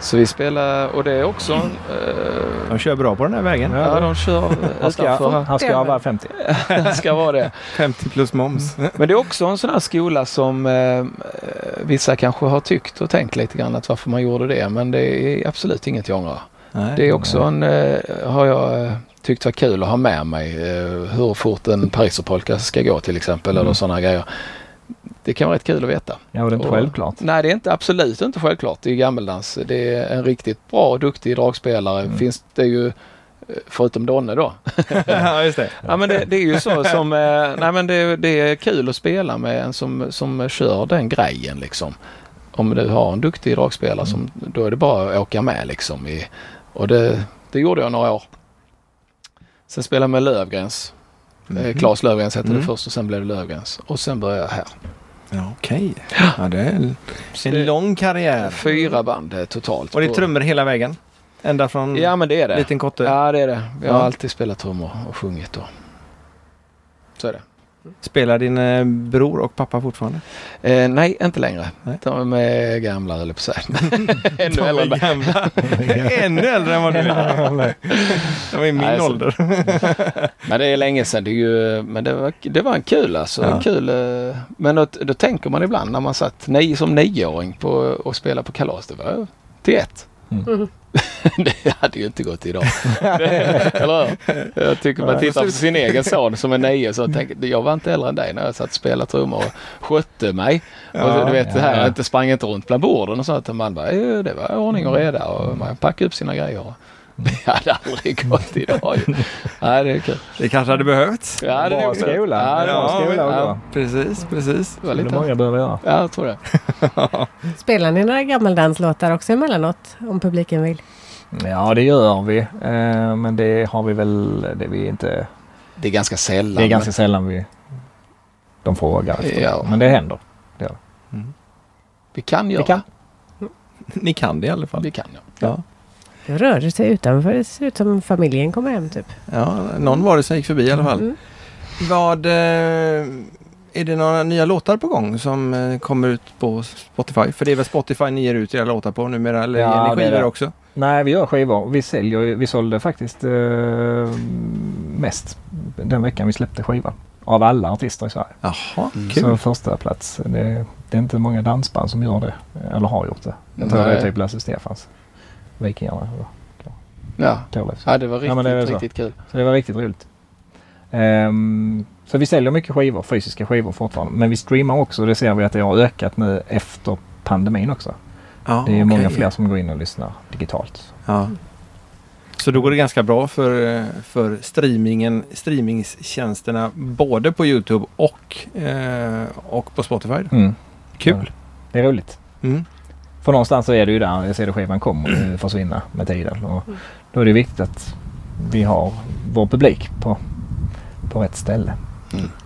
[SPEAKER 5] Så vi spelar och det är också... en, Eh,
[SPEAKER 1] De kör bra på den här vägen.
[SPEAKER 5] ja, de kör
[SPEAKER 4] Här ska, jag,
[SPEAKER 5] utanför.
[SPEAKER 4] här ska jag vara 50.
[SPEAKER 5] Det ska vara det.
[SPEAKER 1] 50 plus moms.
[SPEAKER 5] Men det är också en sån här skola som eh, vissa kanske har tyckt och tänkt lite grann att varför man gjorde det. Men det är absolut inget jag ångrar.
[SPEAKER 1] Nej.
[SPEAKER 5] Mm. Det är också en, eh, har jag eh, tyckt var kul att ha Mm. med mig. Eh, hur fort en pariserpolka ska gå till exempel eller sådana grejer. Det kan vara rätt kul att veta.
[SPEAKER 4] Ja, och det är inte
[SPEAKER 5] Och-
[SPEAKER 4] självklart.
[SPEAKER 5] Nej, det är inte absolut inte självklart i gammeldans. Det är en riktigt bra och duktig dragspelare.
[SPEAKER 4] Mm.
[SPEAKER 5] Finns det ju eh, Förutom Donne då.
[SPEAKER 1] ja, just det.
[SPEAKER 5] Ja men det, det är ju så som, eh, nej men det, det är kul att spela med en som, som kör den grejen liksom. Om du har en duktig dragspelare som, då är det bara att åka med liksom. I, och det, det gjorde jag några år. Sen spelade jag med Lövgrens. Mm. Claes Lövgrens hette
[SPEAKER 1] Mm.
[SPEAKER 5] det först och sen blev det Lövgrens. Och sen började jag här.
[SPEAKER 1] Ja, Okej. Ja, det är en- en lång karriär.
[SPEAKER 5] Fyra band eh, totalt.
[SPEAKER 1] Och det är
[SPEAKER 5] på-
[SPEAKER 1] trummor hela vägen? Ända från
[SPEAKER 5] Ja men det är det.
[SPEAKER 1] liten kotte?
[SPEAKER 5] Ja det är det. Jag har
[SPEAKER 1] Ja.
[SPEAKER 5] alltid spelat trummor och sjungit då. Så är det.
[SPEAKER 1] Spelar din eh, bror och pappa fortfarande?
[SPEAKER 5] Eh, nej, inte längre.
[SPEAKER 1] Nej.
[SPEAKER 5] De är gamla höll jag på att säga. Ännu äldre. än mig.
[SPEAKER 1] gamla. Ännu äldre än vad du är. De är i min
[SPEAKER 5] Nej, så-
[SPEAKER 1] ålder.
[SPEAKER 5] Men det är länge sedan. Det är ju, men det var, det var en kul alltså.
[SPEAKER 1] Ja.
[SPEAKER 5] Kul, eh, men då, då tänker man ibland när man satt nej, som nioåring på, och spelade på kalas. Det var till ett.
[SPEAKER 4] Mm.
[SPEAKER 5] det hade ju inte gått idag. Eller hur? Jag tycker man tittar på sin egen son som är nio så tänker jag var inte äldre än dig när jag satt och spelade trummor och skötte mig. och så, Alltså, du vet det här, jag inte sprang inte runt bland borden och sånt. utan Man bara, "Eh, det var ordning och reda och man packade upp sina
[SPEAKER 4] Mm.
[SPEAKER 5] grejer. Det hade aldrig gått idag ju. Nej, det är kul.
[SPEAKER 1] Det kanske hade behövts.
[SPEAKER 5] Ja, det är
[SPEAKER 4] Bra
[SPEAKER 5] nog så.
[SPEAKER 4] skola.
[SPEAKER 5] Ja, det
[SPEAKER 4] Bra
[SPEAKER 5] var
[SPEAKER 4] skola
[SPEAKER 5] ja.
[SPEAKER 4] att gå.
[SPEAKER 1] Precis, precis.
[SPEAKER 5] Det var
[SPEAKER 4] Det
[SPEAKER 5] lite.
[SPEAKER 4] många behöver göra.
[SPEAKER 5] Ja, jag tror det.
[SPEAKER 2] Spelar ni några gammeldanslåtar också emellanåt? Om publiken vill.
[SPEAKER 4] Ja, det gör vi. Eh, Men det har vi väl... Det, vi inte,
[SPEAKER 5] Det är ganska sällan.
[SPEAKER 4] det är ganska sällan vi, de frågar efter.
[SPEAKER 5] Ja.
[SPEAKER 4] Men det händer.
[SPEAKER 5] Vi kan göra.
[SPEAKER 4] Vi kan.
[SPEAKER 1] Ni kan det i alla fall.
[SPEAKER 5] Vi kan ja.
[SPEAKER 1] Ja.
[SPEAKER 2] Du rör sig utanför. Det ser ut som familjen kommer hem typ.
[SPEAKER 1] Ja, någon var det som gick förbi i alla fall.
[SPEAKER 2] Mm.
[SPEAKER 1] Vad... eh, Är det några nya låtar på gång som eh, kommer ut på Spotify? För det är väl Spotify ni ger ut era låtar på numera? Eller
[SPEAKER 4] Ja,
[SPEAKER 1] ger ni
[SPEAKER 4] det är
[SPEAKER 1] skivor
[SPEAKER 4] det.
[SPEAKER 1] också?
[SPEAKER 4] Nej, vi gör skivor. Vi säljer ju- Vi sålde faktiskt eh, mest den veckan vi släppte skivan. Av alla artister i Sverige.
[SPEAKER 1] Jaha,
[SPEAKER 5] Mm.
[SPEAKER 1] kul.
[SPEAKER 4] Så första plats. Det, det är inte många dansband som gör det. Eller har gjort det. Jag tror
[SPEAKER 5] Nej.
[SPEAKER 4] det är typ Lasse Stefans Vikingarna. eller
[SPEAKER 5] Ja.
[SPEAKER 4] Thorleifs.
[SPEAKER 5] ja, det var riktigt,
[SPEAKER 4] Ja, men det är väl så.
[SPEAKER 5] riktigt kul.
[SPEAKER 4] Så det var riktigt roligt. Ehm, så vi säljer mycket skivor, fysiska skivor fortfarande. Men vi streamar också och det ser vi att det har ökat nu efter pandemin också.
[SPEAKER 1] Ja,
[SPEAKER 4] det är ju
[SPEAKER 1] Ah, okej.
[SPEAKER 4] många fler som går in och lyssnar digitalt.
[SPEAKER 1] Ja. Så då går det ganska bra för, eh, för streamingen, streamingstjänsterna både på Youtube och, eh, och på Spotify. då.
[SPEAKER 4] Mm.
[SPEAKER 1] Kul!
[SPEAKER 4] Det är roligt.
[SPEAKER 1] Mm.
[SPEAKER 4] För någonstans så är det ju där CD-skivan kommer att försvinna med tiden. Och då är det viktigt att vi har vår publik på, på rätt ställe.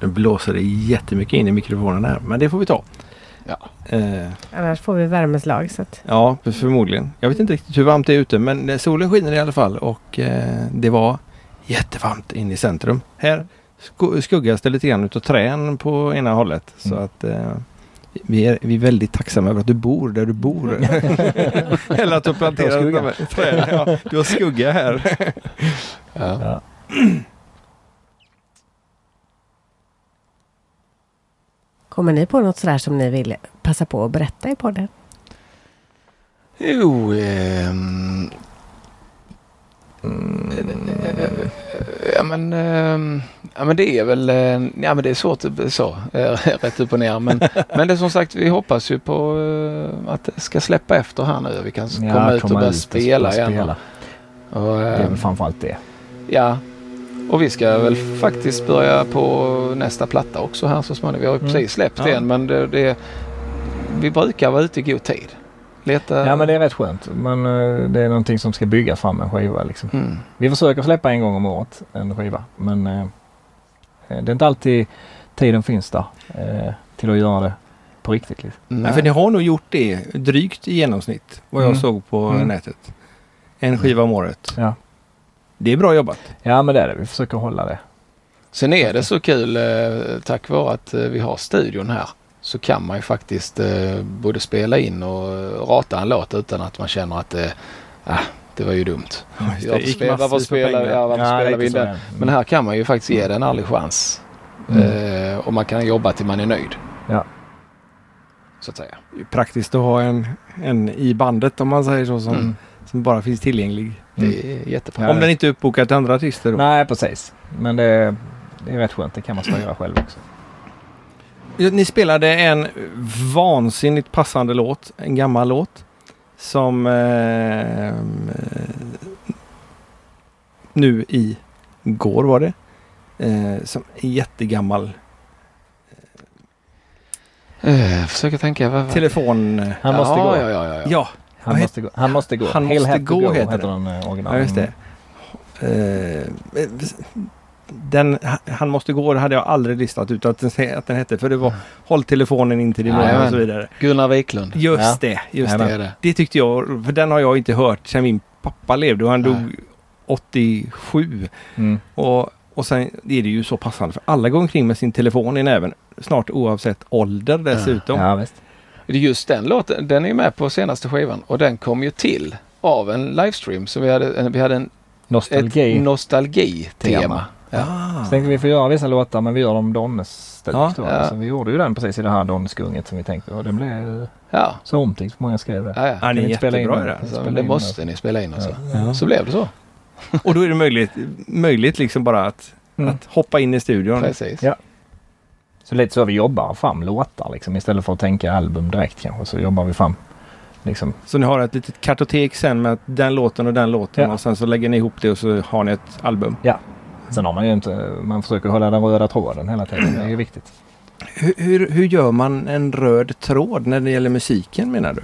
[SPEAKER 1] Nu blåser det jättemycket in i mikrofonen här men det får vi ta.
[SPEAKER 5] Ja.
[SPEAKER 1] Eh,
[SPEAKER 2] Annars får vi värmeslag. Så att
[SPEAKER 1] ja, för- förmodligen. Jag vet inte riktigt hur varmt det är ute men eh, solen skiner i alla fall och eh, det var jättevarmt inne i centrum. Här sko- skuggas det lite grann utav trän på ena hållet. Så
[SPEAKER 4] Mm.
[SPEAKER 1] att eh, vi, är, vi är väldigt tacksamma över att du bor där du bor. Eller att du har planterat
[SPEAKER 4] Jag har skugga.
[SPEAKER 1] de här träden. Ja, du har skugga här.
[SPEAKER 5] Ja.
[SPEAKER 4] Ja.
[SPEAKER 2] kommer ni på något sådär som ni vill passa på att berätta i podden?
[SPEAKER 5] Jo, ehm, eh, ja, men, ehm, ja men det är väl, eh, ja men det är svårt att så, eh, rätt upp och ner. Men, men det är som sagt, vi hoppas ju på eh, att det ska släppa efter här nu. Vi kan
[SPEAKER 4] Ja,
[SPEAKER 5] komma ut och börja
[SPEAKER 4] spela,
[SPEAKER 5] spela igen. Och,
[SPEAKER 4] Det är
[SPEAKER 5] ehm,
[SPEAKER 4] väl framförallt det.
[SPEAKER 5] Ja, och vi ska väl faktiskt börja på nästa platta också här så småningom. Vi har ju
[SPEAKER 4] Mm.
[SPEAKER 5] precis släppt
[SPEAKER 1] Ja.
[SPEAKER 5] en men det, det, vi brukar vara ute i god tid. Leta...
[SPEAKER 4] Ja men det är rätt skönt. Men eh, det är någonting som ska bygga fram en skiva liksom.
[SPEAKER 5] Mm.
[SPEAKER 4] Vi försöker släppa en gång om året, en skiva. Men eh, det är inte alltid tiden finns där eh, till att göra det på riktigt. Liksom.
[SPEAKER 1] Nej. För ni har nog gjort det drygt i genomsnitt vad jag
[SPEAKER 4] Mm.
[SPEAKER 1] såg på
[SPEAKER 4] Mm.
[SPEAKER 1] nätet. En skiva om året.
[SPEAKER 4] Ja.
[SPEAKER 1] Det är bra jobbat.
[SPEAKER 4] Ja men det är det. Vi försöker hålla det.
[SPEAKER 5] Sen är det så kul eh, tack vare att eh, vi har studion här så kan man ju faktiskt eh, både spela in och eh, rata en låt utan att man känner att eh, ah, det var ju dumt.
[SPEAKER 1] Just
[SPEAKER 5] Ja,
[SPEAKER 1] det gick
[SPEAKER 5] spela- varför
[SPEAKER 1] massvis på
[SPEAKER 5] spelar-
[SPEAKER 1] pengar.
[SPEAKER 5] ja, varför
[SPEAKER 4] Ja,
[SPEAKER 5] spelar
[SPEAKER 4] lite
[SPEAKER 5] vi in
[SPEAKER 4] så
[SPEAKER 5] den?
[SPEAKER 4] är det. Mm.
[SPEAKER 5] Men här kan man ju faktiskt ge den en ärlig chans. Eh, och man kan jobba till man är nöjd.
[SPEAKER 4] Ja.
[SPEAKER 5] Så att säga.
[SPEAKER 1] Praktiskt att ha en, en i bandet om man säger så som,
[SPEAKER 5] Mm.
[SPEAKER 1] som bara finns tillgänglig.
[SPEAKER 5] Det är jättebra.
[SPEAKER 4] Mm. Ja,
[SPEAKER 1] Om den inte är uppbokad till andra artister. Då.
[SPEAKER 4] Nej precis. Men det, det är rätt skönt. Det kan man styra själv också.
[SPEAKER 1] Ni spelade en vansinnigt passande låt, en gammal låt. Som eh, eh, nu i går var det. Eh, som är jättegammal
[SPEAKER 5] Eh, försöker tänka. Vad, vad?
[SPEAKER 1] telefon... eh,
[SPEAKER 4] Han måste
[SPEAKER 5] ja,
[SPEAKER 4] gå.
[SPEAKER 5] Ja, ja, ja, ja.
[SPEAKER 1] Ja,
[SPEAKER 4] Han,
[SPEAKER 1] Vad
[SPEAKER 4] måste gå. han måste gå.
[SPEAKER 1] Han
[SPEAKER 4] Hail
[SPEAKER 1] måste
[SPEAKER 4] Hat
[SPEAKER 1] gå
[SPEAKER 4] to
[SPEAKER 1] heter
[SPEAKER 4] heter
[SPEAKER 1] den.
[SPEAKER 4] den eh, original.
[SPEAKER 1] ja just det. Eh, eh, den, han måste gå, det hade jag aldrig listat ut att den, att den hette. För det var Håll telefonen in till din mun och
[SPEAKER 5] Jajamän.
[SPEAKER 1] så vidare.
[SPEAKER 5] Gunnar Wiklund.
[SPEAKER 1] Just
[SPEAKER 4] Ja.
[SPEAKER 1] det, just
[SPEAKER 5] Det
[SPEAKER 1] det.
[SPEAKER 5] är det.
[SPEAKER 1] Det tyckte jag, för den har jag inte hört sedan min pappa levde och han
[SPEAKER 5] Nej.
[SPEAKER 1] dog 87.
[SPEAKER 4] Mm.
[SPEAKER 1] Och, och sen är det ju så passande för alla går omkring med sin telefon i näven. Snart oavsett ålder dessutom.
[SPEAKER 4] Ja, visst.
[SPEAKER 5] Det är Just den låten, den är ju med på senaste skivan och den kom ju till av en livestream. Så vi hade, en- vi hade en,
[SPEAKER 4] Nostalgi.
[SPEAKER 5] ett nostalgitema.
[SPEAKER 1] Ah.
[SPEAKER 4] Så tänkte vi får göra vissa låtar men vi gör dem Donnes stuk.
[SPEAKER 1] Ja,
[SPEAKER 4] då.
[SPEAKER 5] ja.
[SPEAKER 4] Så vi gjorde ju den precis i det här Donnesgunget som vi tänkte. Och den blev ju
[SPEAKER 5] Ja,
[SPEAKER 4] så omtyckt. Många skrev det.
[SPEAKER 5] ja,
[SPEAKER 1] Han
[SPEAKER 5] ja.
[SPEAKER 1] är
[SPEAKER 4] Kan vi inte spela in
[SPEAKER 1] jättebra i
[SPEAKER 4] den?
[SPEAKER 1] det.
[SPEAKER 5] Så,
[SPEAKER 4] spela
[SPEAKER 5] men det
[SPEAKER 4] in
[SPEAKER 5] måste ni spela in och så.
[SPEAKER 1] Ja.
[SPEAKER 5] Så blev det så.
[SPEAKER 1] Och då är det möjligt, möjligt liksom bara att,
[SPEAKER 4] Mm.
[SPEAKER 1] att hoppa in i studion.
[SPEAKER 5] Precis.
[SPEAKER 4] Ja. Så lite så vi jobbar fram låtar liksom. Istället för att tänka album direkt kanske så jobbar vi fram liksom.
[SPEAKER 1] Så ni har ett litet kartotek sen med att den låten och den låten
[SPEAKER 4] Ja.
[SPEAKER 1] och sen så lägger ni ihop det och så har ni ett album.
[SPEAKER 4] Sen har man ju inte, eh, man försöker hålla den röda tråden hela tiden. Det är ju viktigt.
[SPEAKER 1] Hur, hur, hur gör man en röd tråd när det gäller musiken menar du?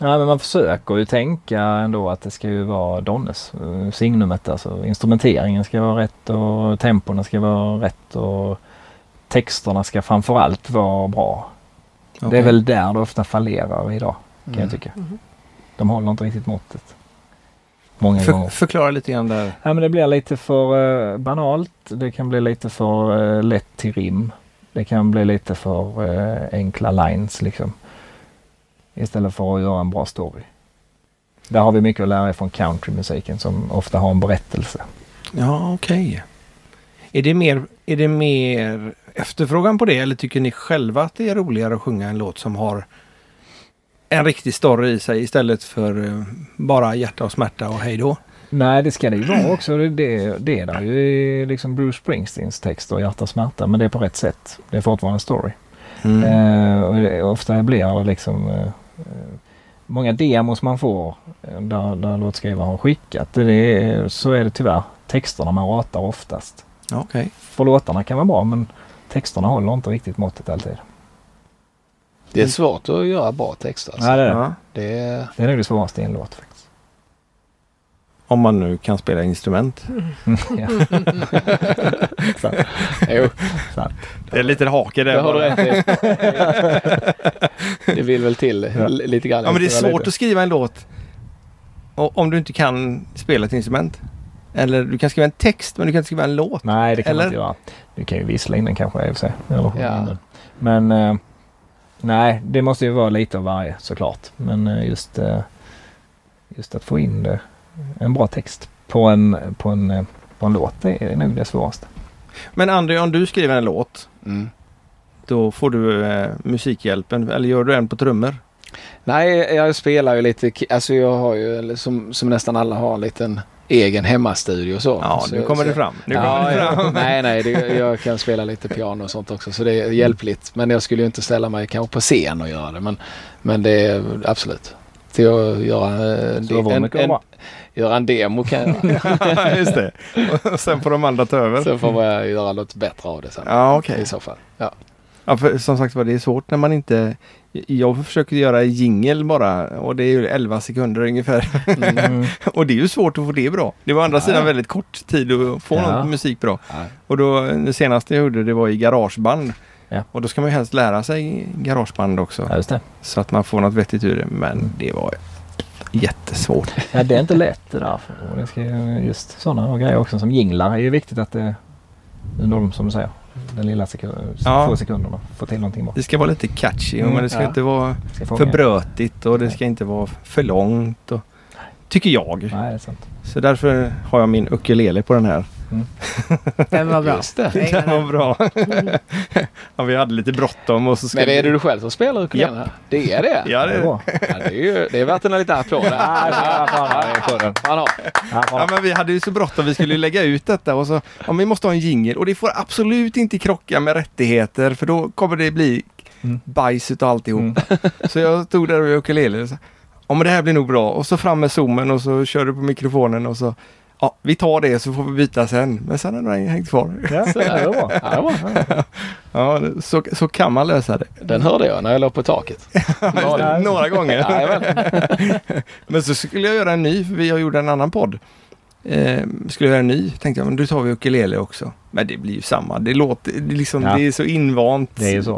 [SPEAKER 4] Ja, men man försöker ju tänka ändå att det ska ju vara Donnes eh, signumet. Alltså instrumenteringen ska vara rätt och tempona ska vara rätt och texterna ska framförallt vara bra. Det
[SPEAKER 1] Okej. Mm.
[SPEAKER 4] är väl där det ofta fallerar idag kan
[SPEAKER 5] Mm.
[SPEAKER 4] jag tycka. De håller inte riktigt måttet. Många
[SPEAKER 1] För,
[SPEAKER 4] gånger.
[SPEAKER 1] förklara lite grann där.
[SPEAKER 4] Ja, men det blir lite för eh, banalt. Det kan bli lite för eh, lätt till rim. Det kan bli lite för eh, enkla lines liksom. Istället för att göra en bra story. Där har vi mycket att lära från countrymusiken som ofta har en berättelse.
[SPEAKER 1] Ja, okej. Är, det mer, är det mer efterfrågan på det eller tycker ni själva att det är roligare att sjunga en låt som har en riktig story i sig istället för eh, bara hjärta och smärta och hej då?
[SPEAKER 4] Nej, det ska det ju vara också. Det, det, det där är ju liksom Bruce Springsteens text och hjärta och smärta. Men det är på rätt sätt. Det är fortfarande en story.
[SPEAKER 1] Mm.
[SPEAKER 4] Eh, och det, ofta blir det liksom eh, eh, många demos man får eh, där, där låtskrivaren har skickat. Det är, så är det tyvärr texterna man ratar oftast.
[SPEAKER 1] Ja, Okej.
[SPEAKER 4] För låtarna kan vara bra men texterna håller inte riktigt måttet alltid.
[SPEAKER 5] Det är svårt att göra bra texter. Alltså.
[SPEAKER 4] det,
[SPEAKER 1] Ja.
[SPEAKER 5] Det är,
[SPEAKER 4] det är nog det svåraste i en låt faktiskt.
[SPEAKER 1] Om man nu kan spela instrument.
[SPEAKER 4] ja.
[SPEAKER 5] jo,
[SPEAKER 1] Det är lite hake där.
[SPEAKER 5] det har du
[SPEAKER 1] bara.
[SPEAKER 5] rätt i. Det vill väl till l- lite grann.
[SPEAKER 1] Ja, men det är svårt
[SPEAKER 5] Lite.
[SPEAKER 1] att skriva en låt och, om du inte kan spela ett instrument. Eller du kan skriva en text men du kan inte skriva en låt.
[SPEAKER 4] Nej, det kan man
[SPEAKER 1] Eller?
[SPEAKER 4] inte göra. Du kan ju vissla in den kanske i och för sig. Eller sjunga
[SPEAKER 5] Ja.
[SPEAKER 4] in den. Men eh, nej, det måste ju vara lite av varje såklart. Men eh, just, eh, just att få in det, en bra text på en, på en, eh, på en låt, det är nog det svåraste.
[SPEAKER 1] Men André, om du skriver en låt
[SPEAKER 5] Mm.
[SPEAKER 1] då får du eh, musikhjälpen. Eller gör du en på trummor?
[SPEAKER 5] Nej, jag spelar ju lite. ki- Alltså jag har ju, eller som, som nästan alla har, en liten egen hemmastudio och så.
[SPEAKER 1] Ja,
[SPEAKER 5] så,
[SPEAKER 1] nu kommer
[SPEAKER 5] så,
[SPEAKER 1] det fram. Nu
[SPEAKER 5] ja,
[SPEAKER 1] kommer det
[SPEAKER 5] ja.
[SPEAKER 1] fram.
[SPEAKER 5] Nej, nej, det, jag kan spela lite piano och sånt också så det är hjälpligt. Men jag skulle ju inte ställa mig kanske på scen och göra det. Men, men det är absolut. Till att göra, eh,
[SPEAKER 4] Så
[SPEAKER 5] de-
[SPEAKER 4] var
[SPEAKER 5] en,
[SPEAKER 4] mycket
[SPEAKER 5] en,
[SPEAKER 4] bra.
[SPEAKER 5] göra en demo kan jag göra.
[SPEAKER 1] Just det. Och sen får de andra ta över.
[SPEAKER 5] Sen får jag göra något bättre av det sen.
[SPEAKER 1] Ja, okej.
[SPEAKER 5] I så fall. Ja.
[SPEAKER 1] Ja, för som sagt var, det är svårt när man inte... Jag försöker göra jingel bara och det är ju 11 sekunder ungefär.
[SPEAKER 4] Mm.
[SPEAKER 1] Och det är ju svårt att få det bra. Det var å andra
[SPEAKER 5] Ja.
[SPEAKER 1] sidan väldigt kort tid att få
[SPEAKER 4] Ja.
[SPEAKER 1] någon musik bra.
[SPEAKER 5] Ja.
[SPEAKER 1] Och då, det senaste jag gjorde det var i garageband.
[SPEAKER 4] Ja.
[SPEAKER 1] Och då ska man ju helst lära sig garageband också.
[SPEAKER 4] Ja, just det.
[SPEAKER 1] Så att man får något vettigt ur det. Men det var jättesvårt.
[SPEAKER 4] Ja, det är inte lätt det där. Och det ska, ju- just sådana grejer också som jinglar är ju viktigt att det under de, som du säger, den lilla sekund,
[SPEAKER 1] Ja.
[SPEAKER 4] få sekunderna, få till någonting bra.
[SPEAKER 1] Det ska vara lite catchy
[SPEAKER 4] Mm,
[SPEAKER 1] men det ska
[SPEAKER 5] ja.
[SPEAKER 1] inte vara
[SPEAKER 4] Ska fånga.
[SPEAKER 1] för brötigt och det ska inte vara för långt. Och, tycker jag.
[SPEAKER 4] Nej, det är sant.
[SPEAKER 1] Så därför har jag min ukulele på den här.
[SPEAKER 2] Den var bra.
[SPEAKER 5] Just det.
[SPEAKER 2] Jag gillar
[SPEAKER 1] Den var bra. ja, vi hade lite bråttom och så skulle
[SPEAKER 5] Men är det du själv som spelar ukulelen? Det är det?
[SPEAKER 1] Ja, det är det.
[SPEAKER 5] Ja, det, är ju, det är värt en liten applåd. där. Fan, ja.
[SPEAKER 1] Ja, men vi hade ju så bråttom. Vi skulle ju lägga ut detta och så ja, men vi måste ha en jingel och det får absolut inte krocka med rättigheter för då kommer det bli bajs utav alltihop. Så jag stod där och ukulele och sa, ja men det här blir nog bra och så fram med zoomen och så körde på mikrofonen och så Ja, vi tar det så får vi byta sen. Men sen har den hängt kvar.
[SPEAKER 6] Ja, så är det bra.
[SPEAKER 5] Ja, det var bra.
[SPEAKER 1] Ja, så, så kan man lösa det.
[SPEAKER 5] Den hörde jag när jag låg på taket.
[SPEAKER 1] Några, några gånger.
[SPEAKER 5] Jajamän.
[SPEAKER 1] Men så skulle jag göra en ny, för vi har gjort en annan podd. Eh, skulle jag göra en ny, tänkte jag, men då tar vi ukulele också. Men det blir ju samma. Det låter, det är liksom,
[SPEAKER 6] Ja.
[SPEAKER 1] det är så invant.
[SPEAKER 6] Det är ju så.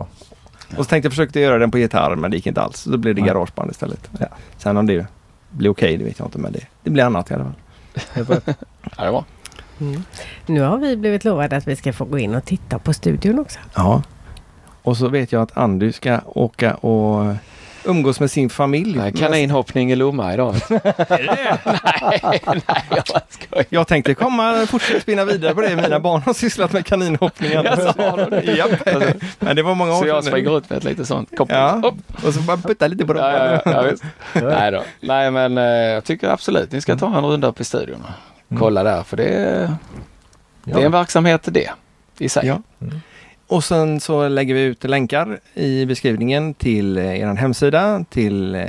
[SPEAKER 1] Och så tänkte jag försöka göra den på gitarr, men det gick inte alls. Så då blev det
[SPEAKER 6] Nej.
[SPEAKER 1] garageband istället.
[SPEAKER 6] Ja.
[SPEAKER 1] Sen om det blir okej, det vet jag inte, men det, det blir annat i alla fall.
[SPEAKER 5] Ja, det var.
[SPEAKER 2] Nu har vi blivit lovade att vi ska få gå in och titta på studion också.
[SPEAKER 1] Ja. Och så vet jag att Andy ska åka och umgås med sin familj.
[SPEAKER 5] Nej, Kaninhoppning i Lomma idag.
[SPEAKER 1] Jag tänkte komma fortsätta spinna vidare på det. Mina barn har sysslat med kaninhoppningen. Japp. Men det var många år
[SPEAKER 5] Alltså, Så
[SPEAKER 1] sedan
[SPEAKER 5] jag
[SPEAKER 1] nu.
[SPEAKER 5] springer ut med ett litet sånt koppel.
[SPEAKER 1] Ja,
[SPEAKER 5] Upp.
[SPEAKER 1] och så bara putta lite på dem.
[SPEAKER 5] Ja, ja, ja, Mm. visst. Nej då. Nej men eh, jag tycker absolut ni ska ta en runda upp i studion. och Kolla där för det är, det är en verksamhet det. I sig.
[SPEAKER 1] Ja. Och sen så lägger vi ut länkar i beskrivningen till eh, eran hemsida, till eh,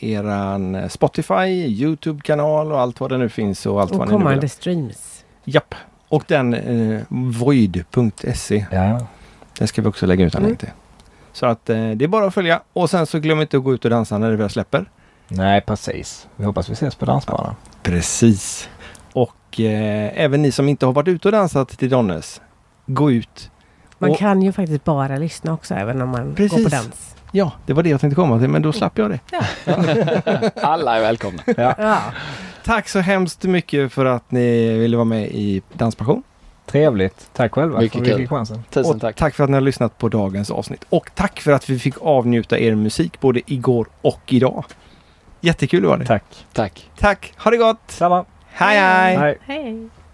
[SPEAKER 1] eran eh, Spotify, Youtube-kanal och allt vad det nu finns och allt
[SPEAKER 2] Och
[SPEAKER 1] vad ni nu vill.
[SPEAKER 2] kommande
[SPEAKER 1] ha.
[SPEAKER 2] streams.
[SPEAKER 1] Japp. Och den eh, void.se,
[SPEAKER 6] Ja,
[SPEAKER 1] den ska vi också lägga ut en länk till. Så att eh, det är bara att följa och sen så glöm inte att gå ut och dansa när det väl släpper.
[SPEAKER 6] nej precis. Vi hoppas vi ses på dansbanan.
[SPEAKER 1] Precis. Och eh, även ni som inte har varit ute och dansat till Donnes, gå ut
[SPEAKER 2] Man
[SPEAKER 1] Och-
[SPEAKER 2] kan ju faktiskt bara lyssna också även om man går på
[SPEAKER 1] Precis.
[SPEAKER 2] dans.
[SPEAKER 1] Ja, det var det jag tänkte komma till, men då slapp jag det.
[SPEAKER 5] Alla är välkomna.
[SPEAKER 2] Ja.
[SPEAKER 1] Tack så hemskt mycket för att ni ville vara med i Danspassion.
[SPEAKER 6] Trevligt. Tack själva
[SPEAKER 5] Mycket
[SPEAKER 6] för att vi
[SPEAKER 5] kul.
[SPEAKER 6] fick chansen.
[SPEAKER 5] Tusen
[SPEAKER 1] Och
[SPEAKER 5] tack.
[SPEAKER 1] tack för att ni har lyssnat på dagens avsnitt. Och tack för att vi fick avnjuta er musik både igår och idag. Jättekul var det.
[SPEAKER 6] Tack.
[SPEAKER 5] Tack.
[SPEAKER 1] tack. Ha det gott!
[SPEAKER 6] Samma.
[SPEAKER 1] Hej hej!
[SPEAKER 6] Hej.
[SPEAKER 2] Hej.